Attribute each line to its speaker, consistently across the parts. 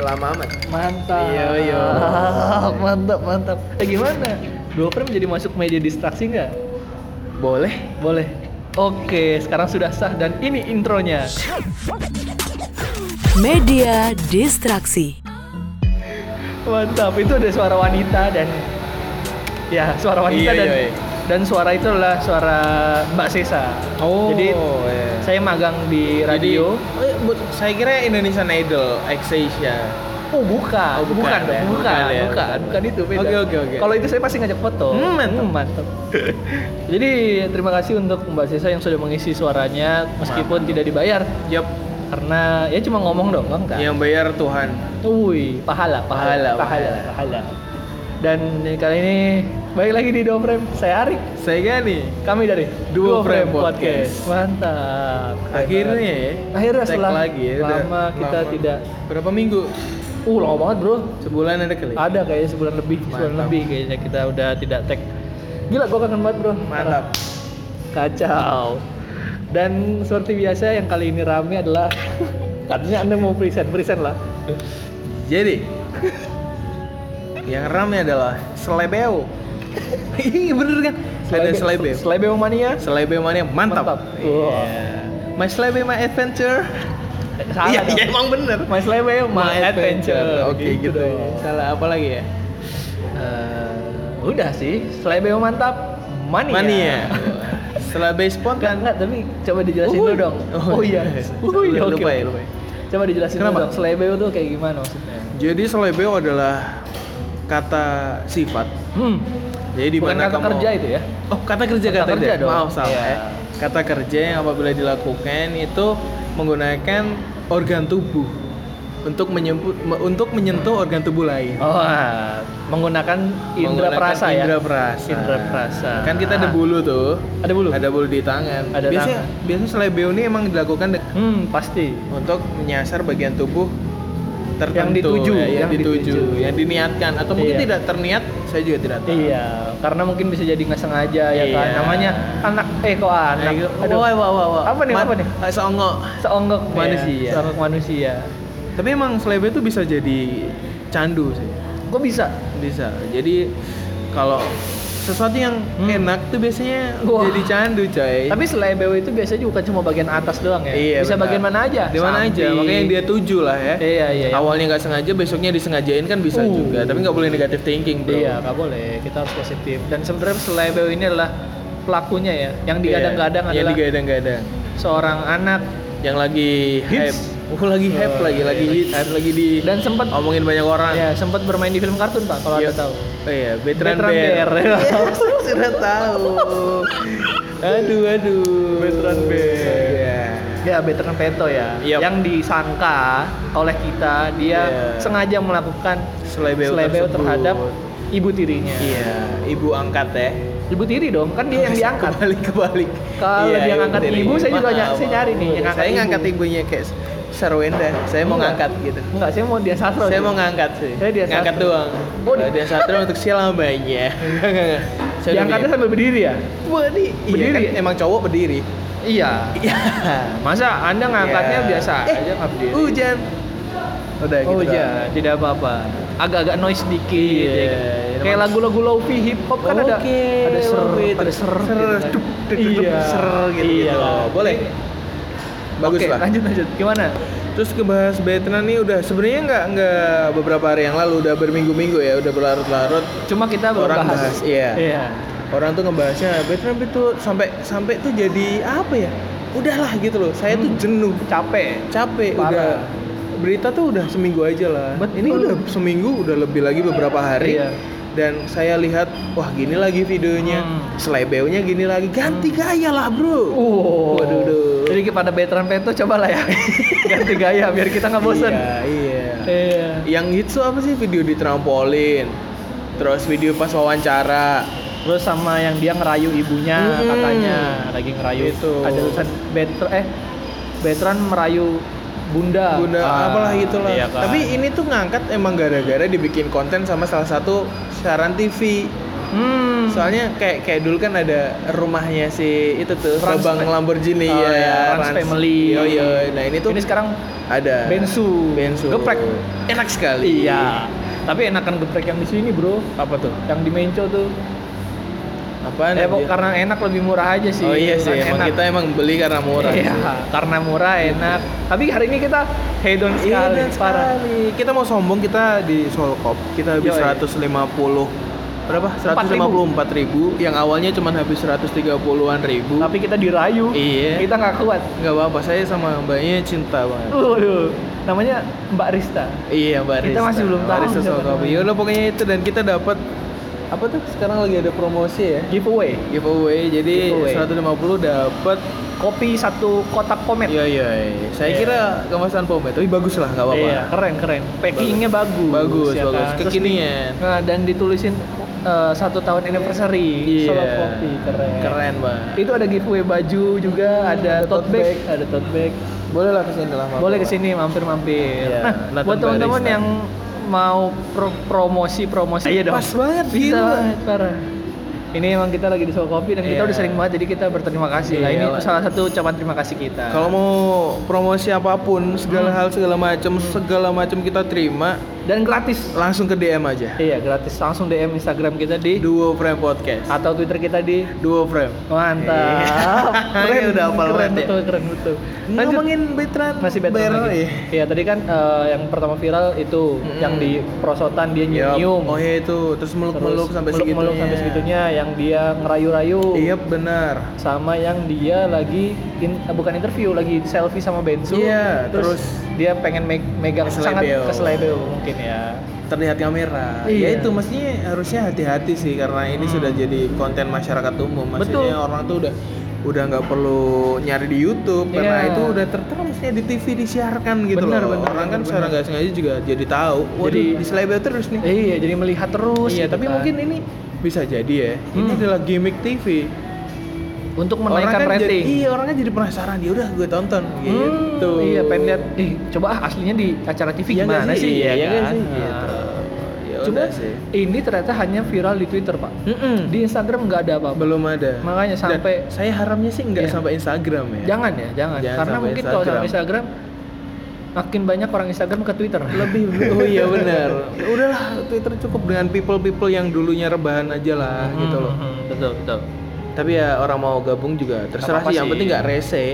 Speaker 1: lama amat
Speaker 2: Mantap.
Speaker 1: Iya, iya.
Speaker 2: mantap, mantap.
Speaker 1: Eh,
Speaker 2: Ya gimana? Dua frame jadi masuk media distraksi nggak?
Speaker 1: boleh
Speaker 2: Boleh. Oke, sekarang sudah sah dan ini intronya.
Speaker 3: Media distraksi.
Speaker 2: Mantap. Itu ada suara wanita dan ya, suara wanita
Speaker 1: Iya,
Speaker 2: dan
Speaker 1: iya, iya.
Speaker 2: dan suara itu adalah suara Mbak Sesa.
Speaker 1: Oh,
Speaker 2: Jadi
Speaker 1: iya.
Speaker 2: saya magang di radio.
Speaker 1: Jadi, eh, bu- saya kira Indonesian Idol X Asia
Speaker 2: oh, bukan.
Speaker 1: Oh, bukan
Speaker 2: bukan,
Speaker 1: ya?
Speaker 2: bukan,
Speaker 1: Bukan
Speaker 2: bukan,
Speaker 1: ya,
Speaker 2: bukan,
Speaker 1: bukan.
Speaker 2: itu beda.
Speaker 1: Oke, oke, oke.
Speaker 2: Kalau itu saya pasti ngajak foto.
Speaker 1: Hmm, mantap.
Speaker 2: mantap. Jadi terima kasih untuk Mbak Sesa yang sudah mengisi suaranya meskipun tidak dibayar.
Speaker 1: Yap,
Speaker 2: karena ya cuma ngomong doang kan.
Speaker 1: yang bayar Tuhan.
Speaker 2: Wih, pahala, pahala,
Speaker 1: Iya. Pahala,
Speaker 2: pahala, pahala. Dan kali ini balik lagi di Dua Frame. Saya Arik,
Speaker 1: Saya Gani.
Speaker 2: kami dari
Speaker 1: Dua Frame Podcast.
Speaker 2: Mantap.
Speaker 1: Akhirnya ya.
Speaker 2: Akhirnya
Speaker 1: tag
Speaker 2: setelah
Speaker 1: lagi ya, udah
Speaker 2: lama kita tidak
Speaker 1: Berapa minggu?
Speaker 2: Uh, lama banget, Bro.
Speaker 1: Sebulan ada kali.
Speaker 2: Ada kayaknya sebulan lebih, sebulan
Speaker 1: Mantap.
Speaker 2: lebih kayaknya kita udah tidak tag. Gila, gua kangen banget, Bro.
Speaker 1: Mantap.
Speaker 2: Kacau. Dan seperti biasa yang kali ini rame adalah katanya Anda mau present, present lah.
Speaker 1: Jadi yang ramai adalah selebeo. Iya bener kan? Ada selebeo.
Speaker 2: Selebeo mania.
Speaker 1: Selebeo mana? Mantap.
Speaker 2: Mantap.
Speaker 1: Iya.
Speaker 2: Wah.
Speaker 1: My selebeo my adventure.
Speaker 2: Salah dong.
Speaker 1: emang bener.
Speaker 2: My Slave My Adventure.
Speaker 1: Iya, Oke gitu.
Speaker 2: dong.
Speaker 1: Salah apa lagi ya?
Speaker 2: Eh, udah sih, Slebeo mantap. Mania.
Speaker 1: Mania. Selebeo
Speaker 2: Enggak,
Speaker 1: spontan.
Speaker 2: enggak, tapi coba dijelasin dulu
Speaker 1: Uhuy.
Speaker 2: dong.
Speaker 1: Oh, iya.
Speaker 2: Uhuy,
Speaker 1: Lupa,
Speaker 2: oke.
Speaker 1: lupa ya,
Speaker 2: oke.
Speaker 1: lupa ya.
Speaker 2: Coba dijelasin
Speaker 1: Kenapa?
Speaker 2: dulu dong. Slebeo tuh kayak gimana maksudnya?
Speaker 1: Jadi selebeo adalah kata sifat.
Speaker 2: Hmm.
Speaker 1: Jadi di
Speaker 2: Bukan
Speaker 1: mana
Speaker 2: kata
Speaker 1: kamu
Speaker 2: kerja itu ya?
Speaker 1: Oh, kata kerja
Speaker 2: Kata
Speaker 1: kata,
Speaker 2: kerja
Speaker 1: kerja.
Speaker 2: dong.
Speaker 1: Maaf salah
Speaker 2: Iya.
Speaker 1: ya. Kata kerja yang apabila dilakukan itu menggunakan organ tubuh untuk menyempu- me- untuk menyentuh organ tubuh lain.
Speaker 2: Oh, ah, menggunakan indra
Speaker 1: Menggunakan
Speaker 2: perasa ya.
Speaker 1: Indra perasa.
Speaker 2: Indra perasa.
Speaker 1: Kan kita ada bulu tuh.
Speaker 2: Ada bulu?
Speaker 1: Ada bulu di tangan.
Speaker 2: Ada
Speaker 1: biasanya biasanya selebeo ini emang dilakukan de-
Speaker 2: Hmm, pasti.
Speaker 1: untuk menyasar bagian tubuh tertentu
Speaker 2: Yang dituju,
Speaker 1: ya, yang,
Speaker 2: yang
Speaker 1: dituju,
Speaker 2: dituju.
Speaker 1: yang diniatkan atau mungkin
Speaker 2: Iya.
Speaker 1: tidak terniat, saya juga tidak tahu.
Speaker 2: Iya, karena mungkin bisa jadi nggak sengaja ya kan.
Speaker 1: Iya.
Speaker 2: Namanya anak eh kok anak.
Speaker 1: Ayo, Oh.
Speaker 2: Aduh.
Speaker 1: Nah, wah, wah, wah, wah.
Speaker 2: Apa nih,
Speaker 1: Man-
Speaker 2: apa nih?
Speaker 1: eh, Songo.
Speaker 2: Seonggok
Speaker 1: Iya, Manusia.
Speaker 2: ya, Seonggok manusia.
Speaker 1: Tapi emang selebeo itu bisa jadi candu sih.
Speaker 2: Kok bisa?
Speaker 1: Bisa. Jadi kalau sesuatu yang
Speaker 2: Hmm.
Speaker 1: enak tuh biasanya
Speaker 2: Wah.
Speaker 1: jadi candu, coy.
Speaker 2: Tapi selain BW itu biasanya juga bukan cuma bagian atas doang ya.
Speaker 1: Iya,
Speaker 2: bisa
Speaker 1: benar.
Speaker 2: bagian mana aja?
Speaker 1: Di mana aja,
Speaker 2: Samping.
Speaker 1: makanya yang dia tuju lah ya.
Speaker 2: Iya, iya. iya.
Speaker 1: Awalnya nggak sengaja, besoknya disengajain kan bisa
Speaker 2: Uh.
Speaker 1: juga. Tapi nggak boleh negatif thinking, bro.
Speaker 2: Iya, nggak boleh. Kita harus positif. Dan sebenarnya selain BW ini adalah pelakunya ya, yang digadang-gadang
Speaker 1: Iya. Yang
Speaker 2: adalah
Speaker 1: digadang-gadang.
Speaker 2: seorang anak
Speaker 1: Yang lagi
Speaker 2: Hits.
Speaker 1: hype. Oh, lagi hype
Speaker 2: Oh,
Speaker 1: lagi,
Speaker 2: iya,
Speaker 1: lagi
Speaker 2: lagi
Speaker 1: hits, lagi di
Speaker 2: dan sempat
Speaker 1: omongin banyak orang.
Speaker 2: ya sempat bermain di film kartun pak kalau
Speaker 1: Iya.
Speaker 2: anda tahu.
Speaker 1: Oh iya, veteran,
Speaker 2: Veteran
Speaker 1: bear.
Speaker 2: bear.
Speaker 1: Iya, saya sudah tahu. Aduh, aduh.
Speaker 2: Veteran bear.
Speaker 1: Iya.
Speaker 2: Ya, Veteran Peto ya,
Speaker 1: Yap.
Speaker 2: yang disangka oleh kita dia
Speaker 1: Iya.
Speaker 2: sengaja melakukan
Speaker 1: Selebeo
Speaker 2: selebeo
Speaker 1: tersebut.
Speaker 2: terhadap ibu tirinya.
Speaker 1: Iya, ibu angkat ya.
Speaker 2: Ibu tiri dong, kan dia yang diangkat.
Speaker 1: Kebalik, kebalik.
Speaker 2: Kalau
Speaker 1: Iya,
Speaker 2: dia ngangkat
Speaker 1: tiri.
Speaker 2: ibu, saya juga
Speaker 1: Maaf,
Speaker 2: ny- saya
Speaker 1: maaf.
Speaker 2: nyari nih yang ngangkat
Speaker 1: saya
Speaker 2: ibu.
Speaker 1: ngangkat ibunya kayak Sarwenda. Saya mau
Speaker 2: Enggak.
Speaker 1: ngangkat gitu.
Speaker 2: Enggak, saya mau dia sastra.
Speaker 1: Saya
Speaker 2: sih.
Speaker 1: mau ngangkat sih.
Speaker 2: Saya dia
Speaker 1: ngangkat
Speaker 2: sastra.
Speaker 1: doang.
Speaker 2: Oh,
Speaker 1: Oh,
Speaker 2: di-
Speaker 1: dia satu untuk selamanya. Enggak, enggak, enggak. Saya udah
Speaker 2: diangkatnya
Speaker 1: punya-
Speaker 2: sambil berdiri ya?
Speaker 1: Wah, di
Speaker 2: Berdiri.
Speaker 1: berdiri. emang cowok berdiri.
Speaker 2: Iya.
Speaker 1: Iya.
Speaker 2: Masa Anda ngangkatnya
Speaker 1: Iya.
Speaker 2: biasa
Speaker 1: Eh,
Speaker 2: aja nggak berdiri.
Speaker 1: Hujan. Udah gitu.
Speaker 2: Oh
Speaker 1: doang.
Speaker 2: iya, tidak apa-apa. Agak-agak noise dikit
Speaker 1: Iya,
Speaker 2: ya kan?
Speaker 1: iya,
Speaker 2: Kayak
Speaker 1: emang-
Speaker 2: lagu-lagu lofi hip hop kan ada
Speaker 1: Oke,
Speaker 2: ada ser,
Speaker 1: oke, itu.
Speaker 2: ada ser,
Speaker 1: Ser,
Speaker 2: gitu kan.
Speaker 1: dup, dup, dup, dup, ser, gitu,
Speaker 2: Iya.
Speaker 1: gitu loh. Boleh. Bagus
Speaker 2: Oke,
Speaker 1: lah.
Speaker 2: lanjut lanjut. Gimana?
Speaker 1: Terus kebahas Vietnam nih udah sebenarnya nggak nggak beberapa hari yang lalu udah berminggu-minggu ya udah berlarut-larut
Speaker 2: Cuma kita baru
Speaker 1: Orang bahas, iya.
Speaker 2: Iya.
Speaker 1: orang tuh ngebahasnya Vietnam itu sampai sampai tuh jadi apa ya udahlah gitu loh saya tuh
Speaker 2: Hmm.
Speaker 1: jenuh
Speaker 2: Capek.
Speaker 1: capek
Speaker 2: Parah.
Speaker 1: udah berita tuh udah seminggu aja lah
Speaker 2: Betul.
Speaker 1: ini udah seminggu udah lebih lagi beberapa hari
Speaker 2: Iya.
Speaker 1: dan saya lihat wah gini lagi videonya
Speaker 2: Hmm.
Speaker 1: selebeunya gini lagi ganti gaya lah bro
Speaker 2: Uh,
Speaker 1: Waduh, duh.
Speaker 2: Jadi kepada veteran Peto cobalah ya ganti gaya biar kita nggak bosan.
Speaker 1: iya, iya.
Speaker 2: Iya.
Speaker 1: Yang hits tuh apa sih? Video di trampolin. Terus video pas wawancara.
Speaker 2: Terus sama yang dia ngerayu ibunya
Speaker 1: Hmm.
Speaker 2: katanya lagi ngerayu
Speaker 1: Itu.
Speaker 2: Ada tulisan veteran eh veteran merayu bunda.
Speaker 1: Bunda
Speaker 2: Ah,
Speaker 1: apalah gitu lah.
Speaker 2: iya kan.
Speaker 1: Tapi ini tuh ngangkat emang gara-gara dibikin konten sama salah satu siaran TV.
Speaker 2: Hmm.
Speaker 1: Soalnya kayak kayak dulu kan ada rumahnya si itu tuh
Speaker 2: Franz
Speaker 1: Rabang
Speaker 2: Fa-
Speaker 1: Lamborghini
Speaker 2: Oh,
Speaker 1: ya,
Speaker 2: ya, Franz Family.
Speaker 1: Yo yo. Nah ini tuh
Speaker 2: ini sekarang
Speaker 1: ada
Speaker 2: Bensu.
Speaker 1: Bensu.
Speaker 2: Geprek.
Speaker 1: Enak sekali.
Speaker 2: Iya. Tapi enakan geprek yang di sini, Bro.
Speaker 1: Apa tuh?
Speaker 2: Yang di Menco tuh.
Speaker 1: Apaan?
Speaker 2: Eh,
Speaker 1: anjir?
Speaker 2: karena enak lebih murah aja sih.
Speaker 1: oh iya sih,
Speaker 2: Karena
Speaker 1: emang
Speaker 2: enak.
Speaker 1: kita emang beli karena murah.
Speaker 2: Iya, karena murah enak. Tapi hari ini kita hedon
Speaker 1: Iya
Speaker 2: sekali,
Speaker 1: dan
Speaker 2: parah.
Speaker 1: sekali. Kita mau sombong kita di Solkop kita habis 150
Speaker 2: Yoi.
Speaker 1: berapa? 154 ribu. Yang awalnya cuma habis 130-an ribu.
Speaker 2: Tapi kita dirayu.
Speaker 1: iya.
Speaker 2: Kita nggak kuat.
Speaker 1: Nggak apa-apa, saya sama mbaknya cinta banget.
Speaker 2: Waduh. Namanya Mbak Rista.
Speaker 1: Iya, Barista.
Speaker 2: Kita masih belum tahu
Speaker 1: Barista
Speaker 2: siapa
Speaker 1: Solkop.
Speaker 2: namanya.
Speaker 1: Ya udah pokoknya itu dan kita dapat apa tuh? Sekarang lagi ada promosi ya.
Speaker 2: Giveaway.
Speaker 1: Giveaway. Jadi
Speaker 2: Giveaway.
Speaker 1: 150 dapat
Speaker 2: Kopi satu kotak komet.
Speaker 1: Iya, iya. Saya
Speaker 2: Iya.
Speaker 1: kira kemasan pomade, tapi bagus lah, nggak apa-apa.
Speaker 2: Iya, keren keren. Packingnya bagus.
Speaker 1: Bagus,
Speaker 2: ya
Speaker 1: bagus.
Speaker 2: kan? Terus
Speaker 1: Kekinian.
Speaker 2: Nah, dan ditulisin eh, satu tahun anniversary Solo Kopi, keren.
Speaker 1: Iya. Keren banget.
Speaker 2: Itu ada giveaway baju juga, ada,
Speaker 1: ada tote
Speaker 2: tote bag,
Speaker 1: bag.
Speaker 2: ada tote bag.
Speaker 1: Boleh lah kesini lah.
Speaker 2: Boleh kesini mampir-mampir.
Speaker 1: Iya,
Speaker 2: Nah,
Speaker 1: Nathan
Speaker 2: buat teman-teman
Speaker 1: Barista.
Speaker 2: yang mau pro- promosi-promosi,
Speaker 1: Iya dong. Pas banget,
Speaker 2: Bisa
Speaker 1: gila.
Speaker 2: banget, parah. Ini emang kita lagi di Solo Kopi dan
Speaker 1: Iya.
Speaker 2: kita udah sering banget jadi kita berterima kasih lah. Ini
Speaker 1: Iyalah.
Speaker 2: salah satu ucapan terima kasih kita.
Speaker 1: Kalau mau promosi apapun, segala
Speaker 2: Hmm.
Speaker 1: hal segala macam, segala macam kita terima,
Speaker 2: dan gratis.
Speaker 1: langsung ke DM aja.
Speaker 2: Iya, gratis. Langsung DM Instagram kita di
Speaker 1: Duo Frame Podcast.
Speaker 2: atau Twitter kita di
Speaker 1: Duo Frame.
Speaker 2: Mantap.
Speaker 1: Iya. Ini udah hafal
Speaker 2: keren,
Speaker 1: banget ya.
Speaker 2: betul, keren betul. Lanjut.
Speaker 1: Ngomongin Betran.
Speaker 2: masih Batman lagi. Iya, tadi kan eh, yang pertama viral itu
Speaker 1: Mm-mm.
Speaker 2: yang di perosotan dia
Speaker 1: Iya.
Speaker 2: nyium.
Speaker 1: Oh iya itu, terus meluk-meluk sampai segitunya.
Speaker 2: meluk sampai segitunya yang dia ngerayu-rayu.
Speaker 1: Iya benar.
Speaker 2: Sama yang dia lagi in- eh, bukan interview, lagi selfie sama Bensu.
Speaker 1: Iya,
Speaker 2: terus,
Speaker 1: terus
Speaker 2: dia pengen me- megang sangat
Speaker 1: keselebeo.
Speaker 2: keselebeo mungkin ya.
Speaker 1: terlihat kamera.
Speaker 2: Iya.
Speaker 1: Ya itu mestinya harusnya hati-hati sih karena ini
Speaker 2: Hmm.
Speaker 1: sudah jadi konten masyarakat umum.
Speaker 2: Betul.
Speaker 1: Maksudnya orang tuh udah udah nggak perlu nyari di YouTube
Speaker 2: Iya.
Speaker 1: karena itu udah tertera mestinya di TV disiarkan gitu
Speaker 2: Benar,
Speaker 1: loh.
Speaker 2: benar,
Speaker 1: orang kan
Speaker 2: benar,
Speaker 1: secara
Speaker 2: benar.
Speaker 1: nggak sengaja juga jadi tahu. Waduh,
Speaker 2: Jadi-
Speaker 1: di selebel terus nih.
Speaker 2: Iya, jadi melihat terus.
Speaker 1: iya,
Speaker 2: gitu
Speaker 1: tapi
Speaker 2: kan.
Speaker 1: mungkin ini bisa jadi ya. Ini
Speaker 2: Hmm.
Speaker 1: adalah gimmick TV.
Speaker 2: untuk menaikkan
Speaker 1: orang kan
Speaker 2: rating.
Speaker 1: Jadi, iya, orang kan jadi penasaran. Ya udah gue tonton gitu.
Speaker 2: Hmm, iya pengen lihat ih coba ah aslinya di acara TV
Speaker 1: Iya nggak
Speaker 2: gimana
Speaker 1: sih?
Speaker 2: sih?
Speaker 1: Iya nggak sih?
Speaker 2: Nah,
Speaker 1: Gitu. Ya
Speaker 2: Cuma
Speaker 1: udah sih. Hmm.
Speaker 2: ini ternyata hanya viral di Twitter pak.
Speaker 1: Mm-mm.
Speaker 2: Di Instagram nggak ada apa-apa.
Speaker 1: belum ada
Speaker 2: Makanya
Speaker 1: Dan
Speaker 2: sampai-
Speaker 1: saya haramnya sih nggak
Speaker 2: Iya.
Speaker 1: sampai Instagram ya
Speaker 2: Jangan ya, jangan.
Speaker 1: Jangan
Speaker 2: Karena
Speaker 1: sampai
Speaker 2: mungkin kalau sama
Speaker 1: Instagram.
Speaker 2: Instagram makin banyak orang Instagram ke Twitter.
Speaker 1: lebih oh iya benar udahlah Twitter cukup dengan people people yang dulunya rebahan aja lah
Speaker 2: Hmm,
Speaker 1: gitu loh
Speaker 2: hmm, betul betul.
Speaker 1: tapi ya orang mau gabung juga terserah
Speaker 2: apa-apa
Speaker 1: sih yang
Speaker 2: sih.
Speaker 1: penting nggak rese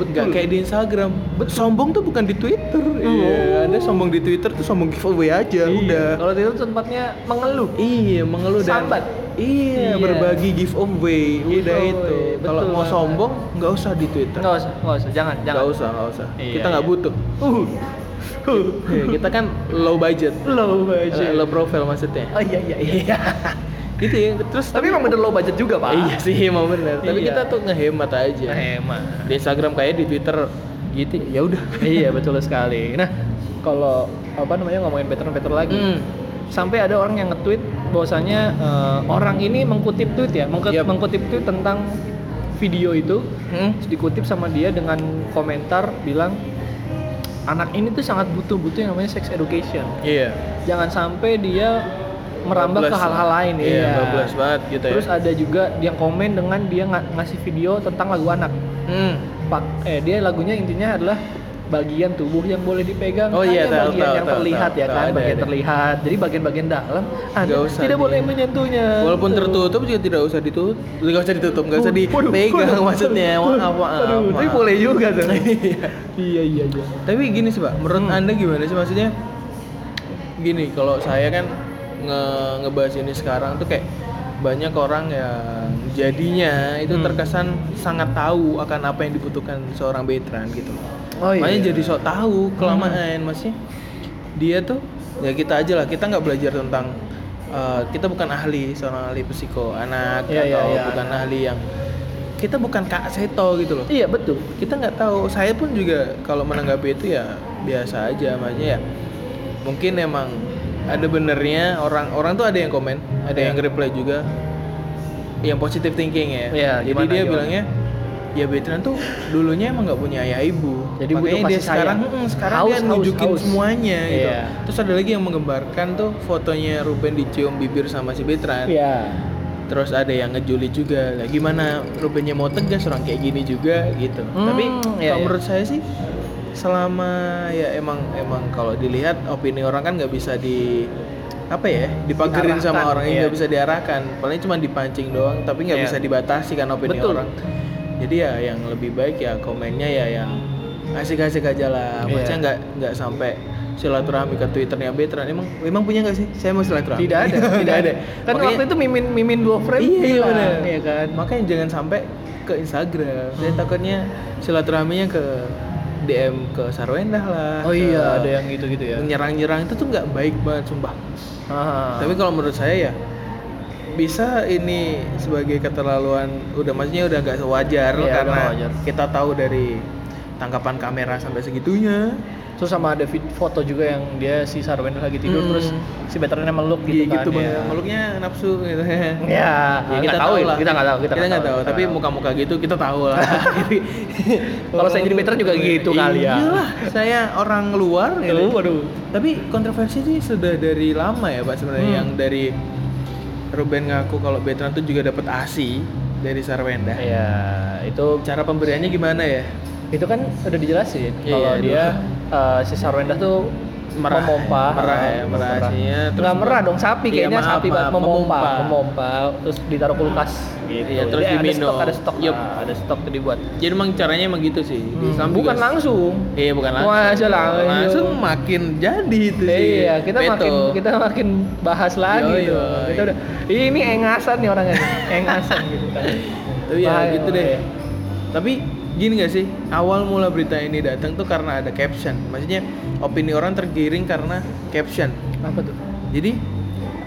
Speaker 2: Betul.
Speaker 1: nggak kayak di Instagram sombong tuh bukan di Twitter iya ada sombong di Twitter tuh sombong giveaway aja
Speaker 2: Oh. Iya,
Speaker 1: udah
Speaker 2: Kalau Twitter tuh tempatnya mengeluh.
Speaker 1: Iya, mengeluh dan
Speaker 2: Sambat.
Speaker 1: Iya,
Speaker 2: Iya.
Speaker 1: berbagi giveaway, udah
Speaker 2: Giveaway,
Speaker 1: itu. Kalau
Speaker 2: betul
Speaker 1: mau
Speaker 2: banget.
Speaker 1: sombong, nggak usah di Twitter.
Speaker 2: Nggak usah, nggak usah, jangan, jangan.
Speaker 1: Nggak usah, nggak usah.
Speaker 2: Iya,
Speaker 1: Kita nggak
Speaker 2: iya.
Speaker 1: butuh.
Speaker 2: Uh, uh,
Speaker 1: Iya, kita kan low budget,
Speaker 2: low budget.
Speaker 1: low profile maksudnya.
Speaker 2: Oh iya iya iya.
Speaker 1: Gitu ya. Terus
Speaker 2: Tapi emang bener low budget juga pak.
Speaker 1: Iya sih, emang bener. Tapi
Speaker 2: Iya.
Speaker 1: kita tuh ngehemat aja.
Speaker 2: Hemat.
Speaker 1: Di Instagram kayak di Twitter gitu. Ya udah.
Speaker 2: iya betul sekali. Nah kalau apa namanya ngomongin veteran-veteran lagi,
Speaker 1: Hmm.
Speaker 2: sampai ada orang yang nge-tweet bahwasanya eh, orang ini mengkutip tweet ya, mengkut-
Speaker 1: Yap.
Speaker 2: mengkutip tweet tentang video itu
Speaker 1: Hmm.
Speaker 2: terus dikutip sama dia dengan komentar bilang anak ini tuh sangat butuh-butuh yang namanya sex education.
Speaker 1: Iya.
Speaker 2: Jangan sampai dia merambah ke
Speaker 1: Bablas.
Speaker 2: hal-hal lain
Speaker 1: Iya, bablas banget gitu ya.
Speaker 2: Terus ada juga yang komen dengan dia nga- ngasih video tentang lagu anak.
Speaker 1: Hmm.
Speaker 2: Pak, eh dia lagunya intinya adalah bagian tubuh yang boleh dipegang
Speaker 1: Oh iya,
Speaker 2: hanya
Speaker 1: tahu,
Speaker 2: bagian
Speaker 1: tahu,
Speaker 2: yang
Speaker 1: tahu,
Speaker 2: terlihat
Speaker 1: tahu,
Speaker 2: ya
Speaker 1: tahu,
Speaker 2: kan
Speaker 1: ada,
Speaker 2: bagian
Speaker 1: ada.
Speaker 2: terlihat jadi bagian-bagian dalam anda
Speaker 1: Nggak usah
Speaker 2: tidak
Speaker 1: di-
Speaker 2: boleh menyentuhnya
Speaker 1: Walaupun
Speaker 2: Gitu.
Speaker 1: tertutup juga tidak usah ditutup, nggak usah ditutup, nggak usah
Speaker 2: Waduh, waduh,
Speaker 1: dipegang
Speaker 2: waduh,
Speaker 1: maksudnya.
Speaker 2: waduh,
Speaker 1: Maaf, maaf,
Speaker 2: waduh, tapi
Speaker 1: maaf.
Speaker 2: boleh juga tuh
Speaker 1: Iya.
Speaker 2: iya iya iya
Speaker 1: Tapi gini sih pak, menurut
Speaker 2: Hmm.
Speaker 1: anda gimana sih maksudnya? Gini, kalau saya kan nge ngebahas ini sekarang tuh kayak banyak orang yang jadinya itu
Speaker 2: Hmm.
Speaker 1: terkesan sangat tahu akan apa yang dibutuhkan seorang veteran gitu.
Speaker 2: oh iya Hmm.
Speaker 1: Makanya jadi sok tahu kelamaan maksudnya. Dia tuh ya kita aja lah, kita nggak belajar tentang eh, kita bukan ahli seorang ahli psiko anak
Speaker 2: Iya, iya,
Speaker 1: atau
Speaker 2: iya,
Speaker 1: bukan
Speaker 2: anak.
Speaker 1: ahli yang kita bukan kak seto gitu loh
Speaker 2: iya betul
Speaker 1: kita nggak tahu saya pun juga kalau menanggapi itu ya biasa aja makanya ya mungkin emang ada benernya orang orang tuh ada yang komen ada
Speaker 2: Iya.
Speaker 1: yang reply juga yang positive thinking ya
Speaker 2: Iya,
Speaker 1: jadi
Speaker 2: gimana,
Speaker 1: dia
Speaker 2: gimana?
Speaker 1: bilangnya ya veteran tuh dulunya emang nggak punya ayah ibu
Speaker 2: Jadi butuh
Speaker 1: makanya dia
Speaker 2: kasih
Speaker 1: sekarang
Speaker 2: sayang.
Speaker 1: "Mm, sekarang
Speaker 2: Haus,
Speaker 1: dia
Speaker 2: haus,
Speaker 1: nunjukin
Speaker 2: haus."
Speaker 1: semuanya gitu
Speaker 2: Iya.
Speaker 1: terus ada lagi yang menggambarkan tuh fotonya Ruben dicium bibir sama si veteran
Speaker 2: iya
Speaker 1: terus ada yang ngejuli juga lah gimana Rubennya mau tegas orang kayak gini juga gitu
Speaker 2: Hmm,
Speaker 1: tapi
Speaker 2: iya,
Speaker 1: kalau
Speaker 2: iya.
Speaker 1: menurut saya sih selama ya emang emang kalau dilihat opini orang kan nggak bisa di apa ya dipagerin sama
Speaker 2: Diarahkan,
Speaker 1: orang yang nggak
Speaker 2: iya.
Speaker 1: bisa diarahkan paling cuma dipancing doang tapi nggak
Speaker 2: Iya.
Speaker 1: bisa dibatasi kan opini
Speaker 2: Betul.
Speaker 1: orang jadi ya yang lebih baik ya komennya ya yang asik-asik aja lah
Speaker 2: Iya.
Speaker 1: maksudnya nggak nggak sampai silaturahmi ke twitternya Betran emang emang punya nggak sih saya mau silaturahmi
Speaker 2: Tidak ada,
Speaker 1: tidak ada
Speaker 2: Kan
Speaker 1: Makanya-
Speaker 2: waktu itu mimin mimin dua frame
Speaker 1: iya, iya
Speaker 2: bilang,
Speaker 1: benar
Speaker 2: ya kan.
Speaker 1: makanya jangan sampai ke Instagram saya
Speaker 2: Hmm.
Speaker 1: takutnya silaturahminya ke DM ke Sarwendah lah
Speaker 2: Oh
Speaker 1: ke
Speaker 2: iya, ada yang gitu-gitu ya.
Speaker 1: nyerang-nyerang itu tuh nggak baik banget sumpah
Speaker 2: Ah.
Speaker 1: tapi kalau menurut saya ya bisa ini sebagai keterlaluan udah maksudnya udah nggak sewajar
Speaker 2: Iya, udah
Speaker 1: karena
Speaker 2: nggak wajar.
Speaker 1: kita tahu dari tangkapan kamera sampai segitunya
Speaker 2: terus sama ada vid- foto juga yang dia si Sarwendel lagi tidur
Speaker 1: Hmm.
Speaker 2: terus si veterannya meluk
Speaker 1: gitu,
Speaker 2: gitu kan.
Speaker 1: gitu
Speaker 2: ya.
Speaker 1: banget. meluknya nafsu gitu ya,
Speaker 2: Ya, kita tahu lah. Kita nggak tahu,
Speaker 1: kita nggak tahu, tapi
Speaker 2: muka
Speaker 1: muka-muka gitu kita tahu lah
Speaker 2: Kalau saya jadi veteran juga gitu kali ya.
Speaker 1: Iya, Iyalah, saya orang luar gitu.
Speaker 2: Aduh, waduh.
Speaker 1: Tapi kontroversi sih sudah dari lama ya Pak sebenarnya
Speaker 2: Hmm.
Speaker 1: yang dari Ruben ngaku kalau Betran tuh juga dapat ASI dari Sarwenda.
Speaker 2: Ya, itu
Speaker 1: Cara pemberiannya gimana ya?
Speaker 2: itu kan udah dijelasin
Speaker 1: Iya,
Speaker 2: kalau
Speaker 1: iya,
Speaker 2: dia eh, si Sarwenda tuh
Speaker 1: Merah,
Speaker 2: memompa
Speaker 1: merah ya,
Speaker 2: eh,
Speaker 1: merah aslinya, terus
Speaker 2: nggak merah dong sapi
Speaker 1: Iya,
Speaker 2: kayaknya
Speaker 1: maaf,
Speaker 2: sapi
Speaker 1: maaf,
Speaker 2: banget memompa,
Speaker 1: memompa.
Speaker 2: memompa terus ditaruh kulkas gitu
Speaker 1: Iya, terus
Speaker 2: Jadi
Speaker 1: diminum.
Speaker 2: ada stok ada stok
Speaker 1: Yup.
Speaker 2: Nah, ada stok tuh dibuat
Speaker 1: Jadi emang caranya emang gitu sih. Di
Speaker 2: Hmm,
Speaker 1: Islam
Speaker 2: bukan
Speaker 1: juga-
Speaker 2: langsung
Speaker 1: Iya bukan langsung.
Speaker 2: Wah, aja langsung.
Speaker 1: Langsung makin jadi itu sih.
Speaker 2: iya kita
Speaker 1: Beto.
Speaker 2: makin kita makin bahas lagi
Speaker 1: Yoi,
Speaker 2: tuh.
Speaker 1: yoi.
Speaker 2: kita udah "Ih, ini engasan nih orangnya nih." engasan gitu kan
Speaker 1: Tapi ya
Speaker 2: Bahaya,
Speaker 1: gitu deh.
Speaker 2: bahaya.
Speaker 1: Tapi gini gak sih, awal mula berita ini datang tuh karena ada caption. Maksudnya opini orang tergiring karena caption.
Speaker 2: ya. apa tuh
Speaker 1: Jadi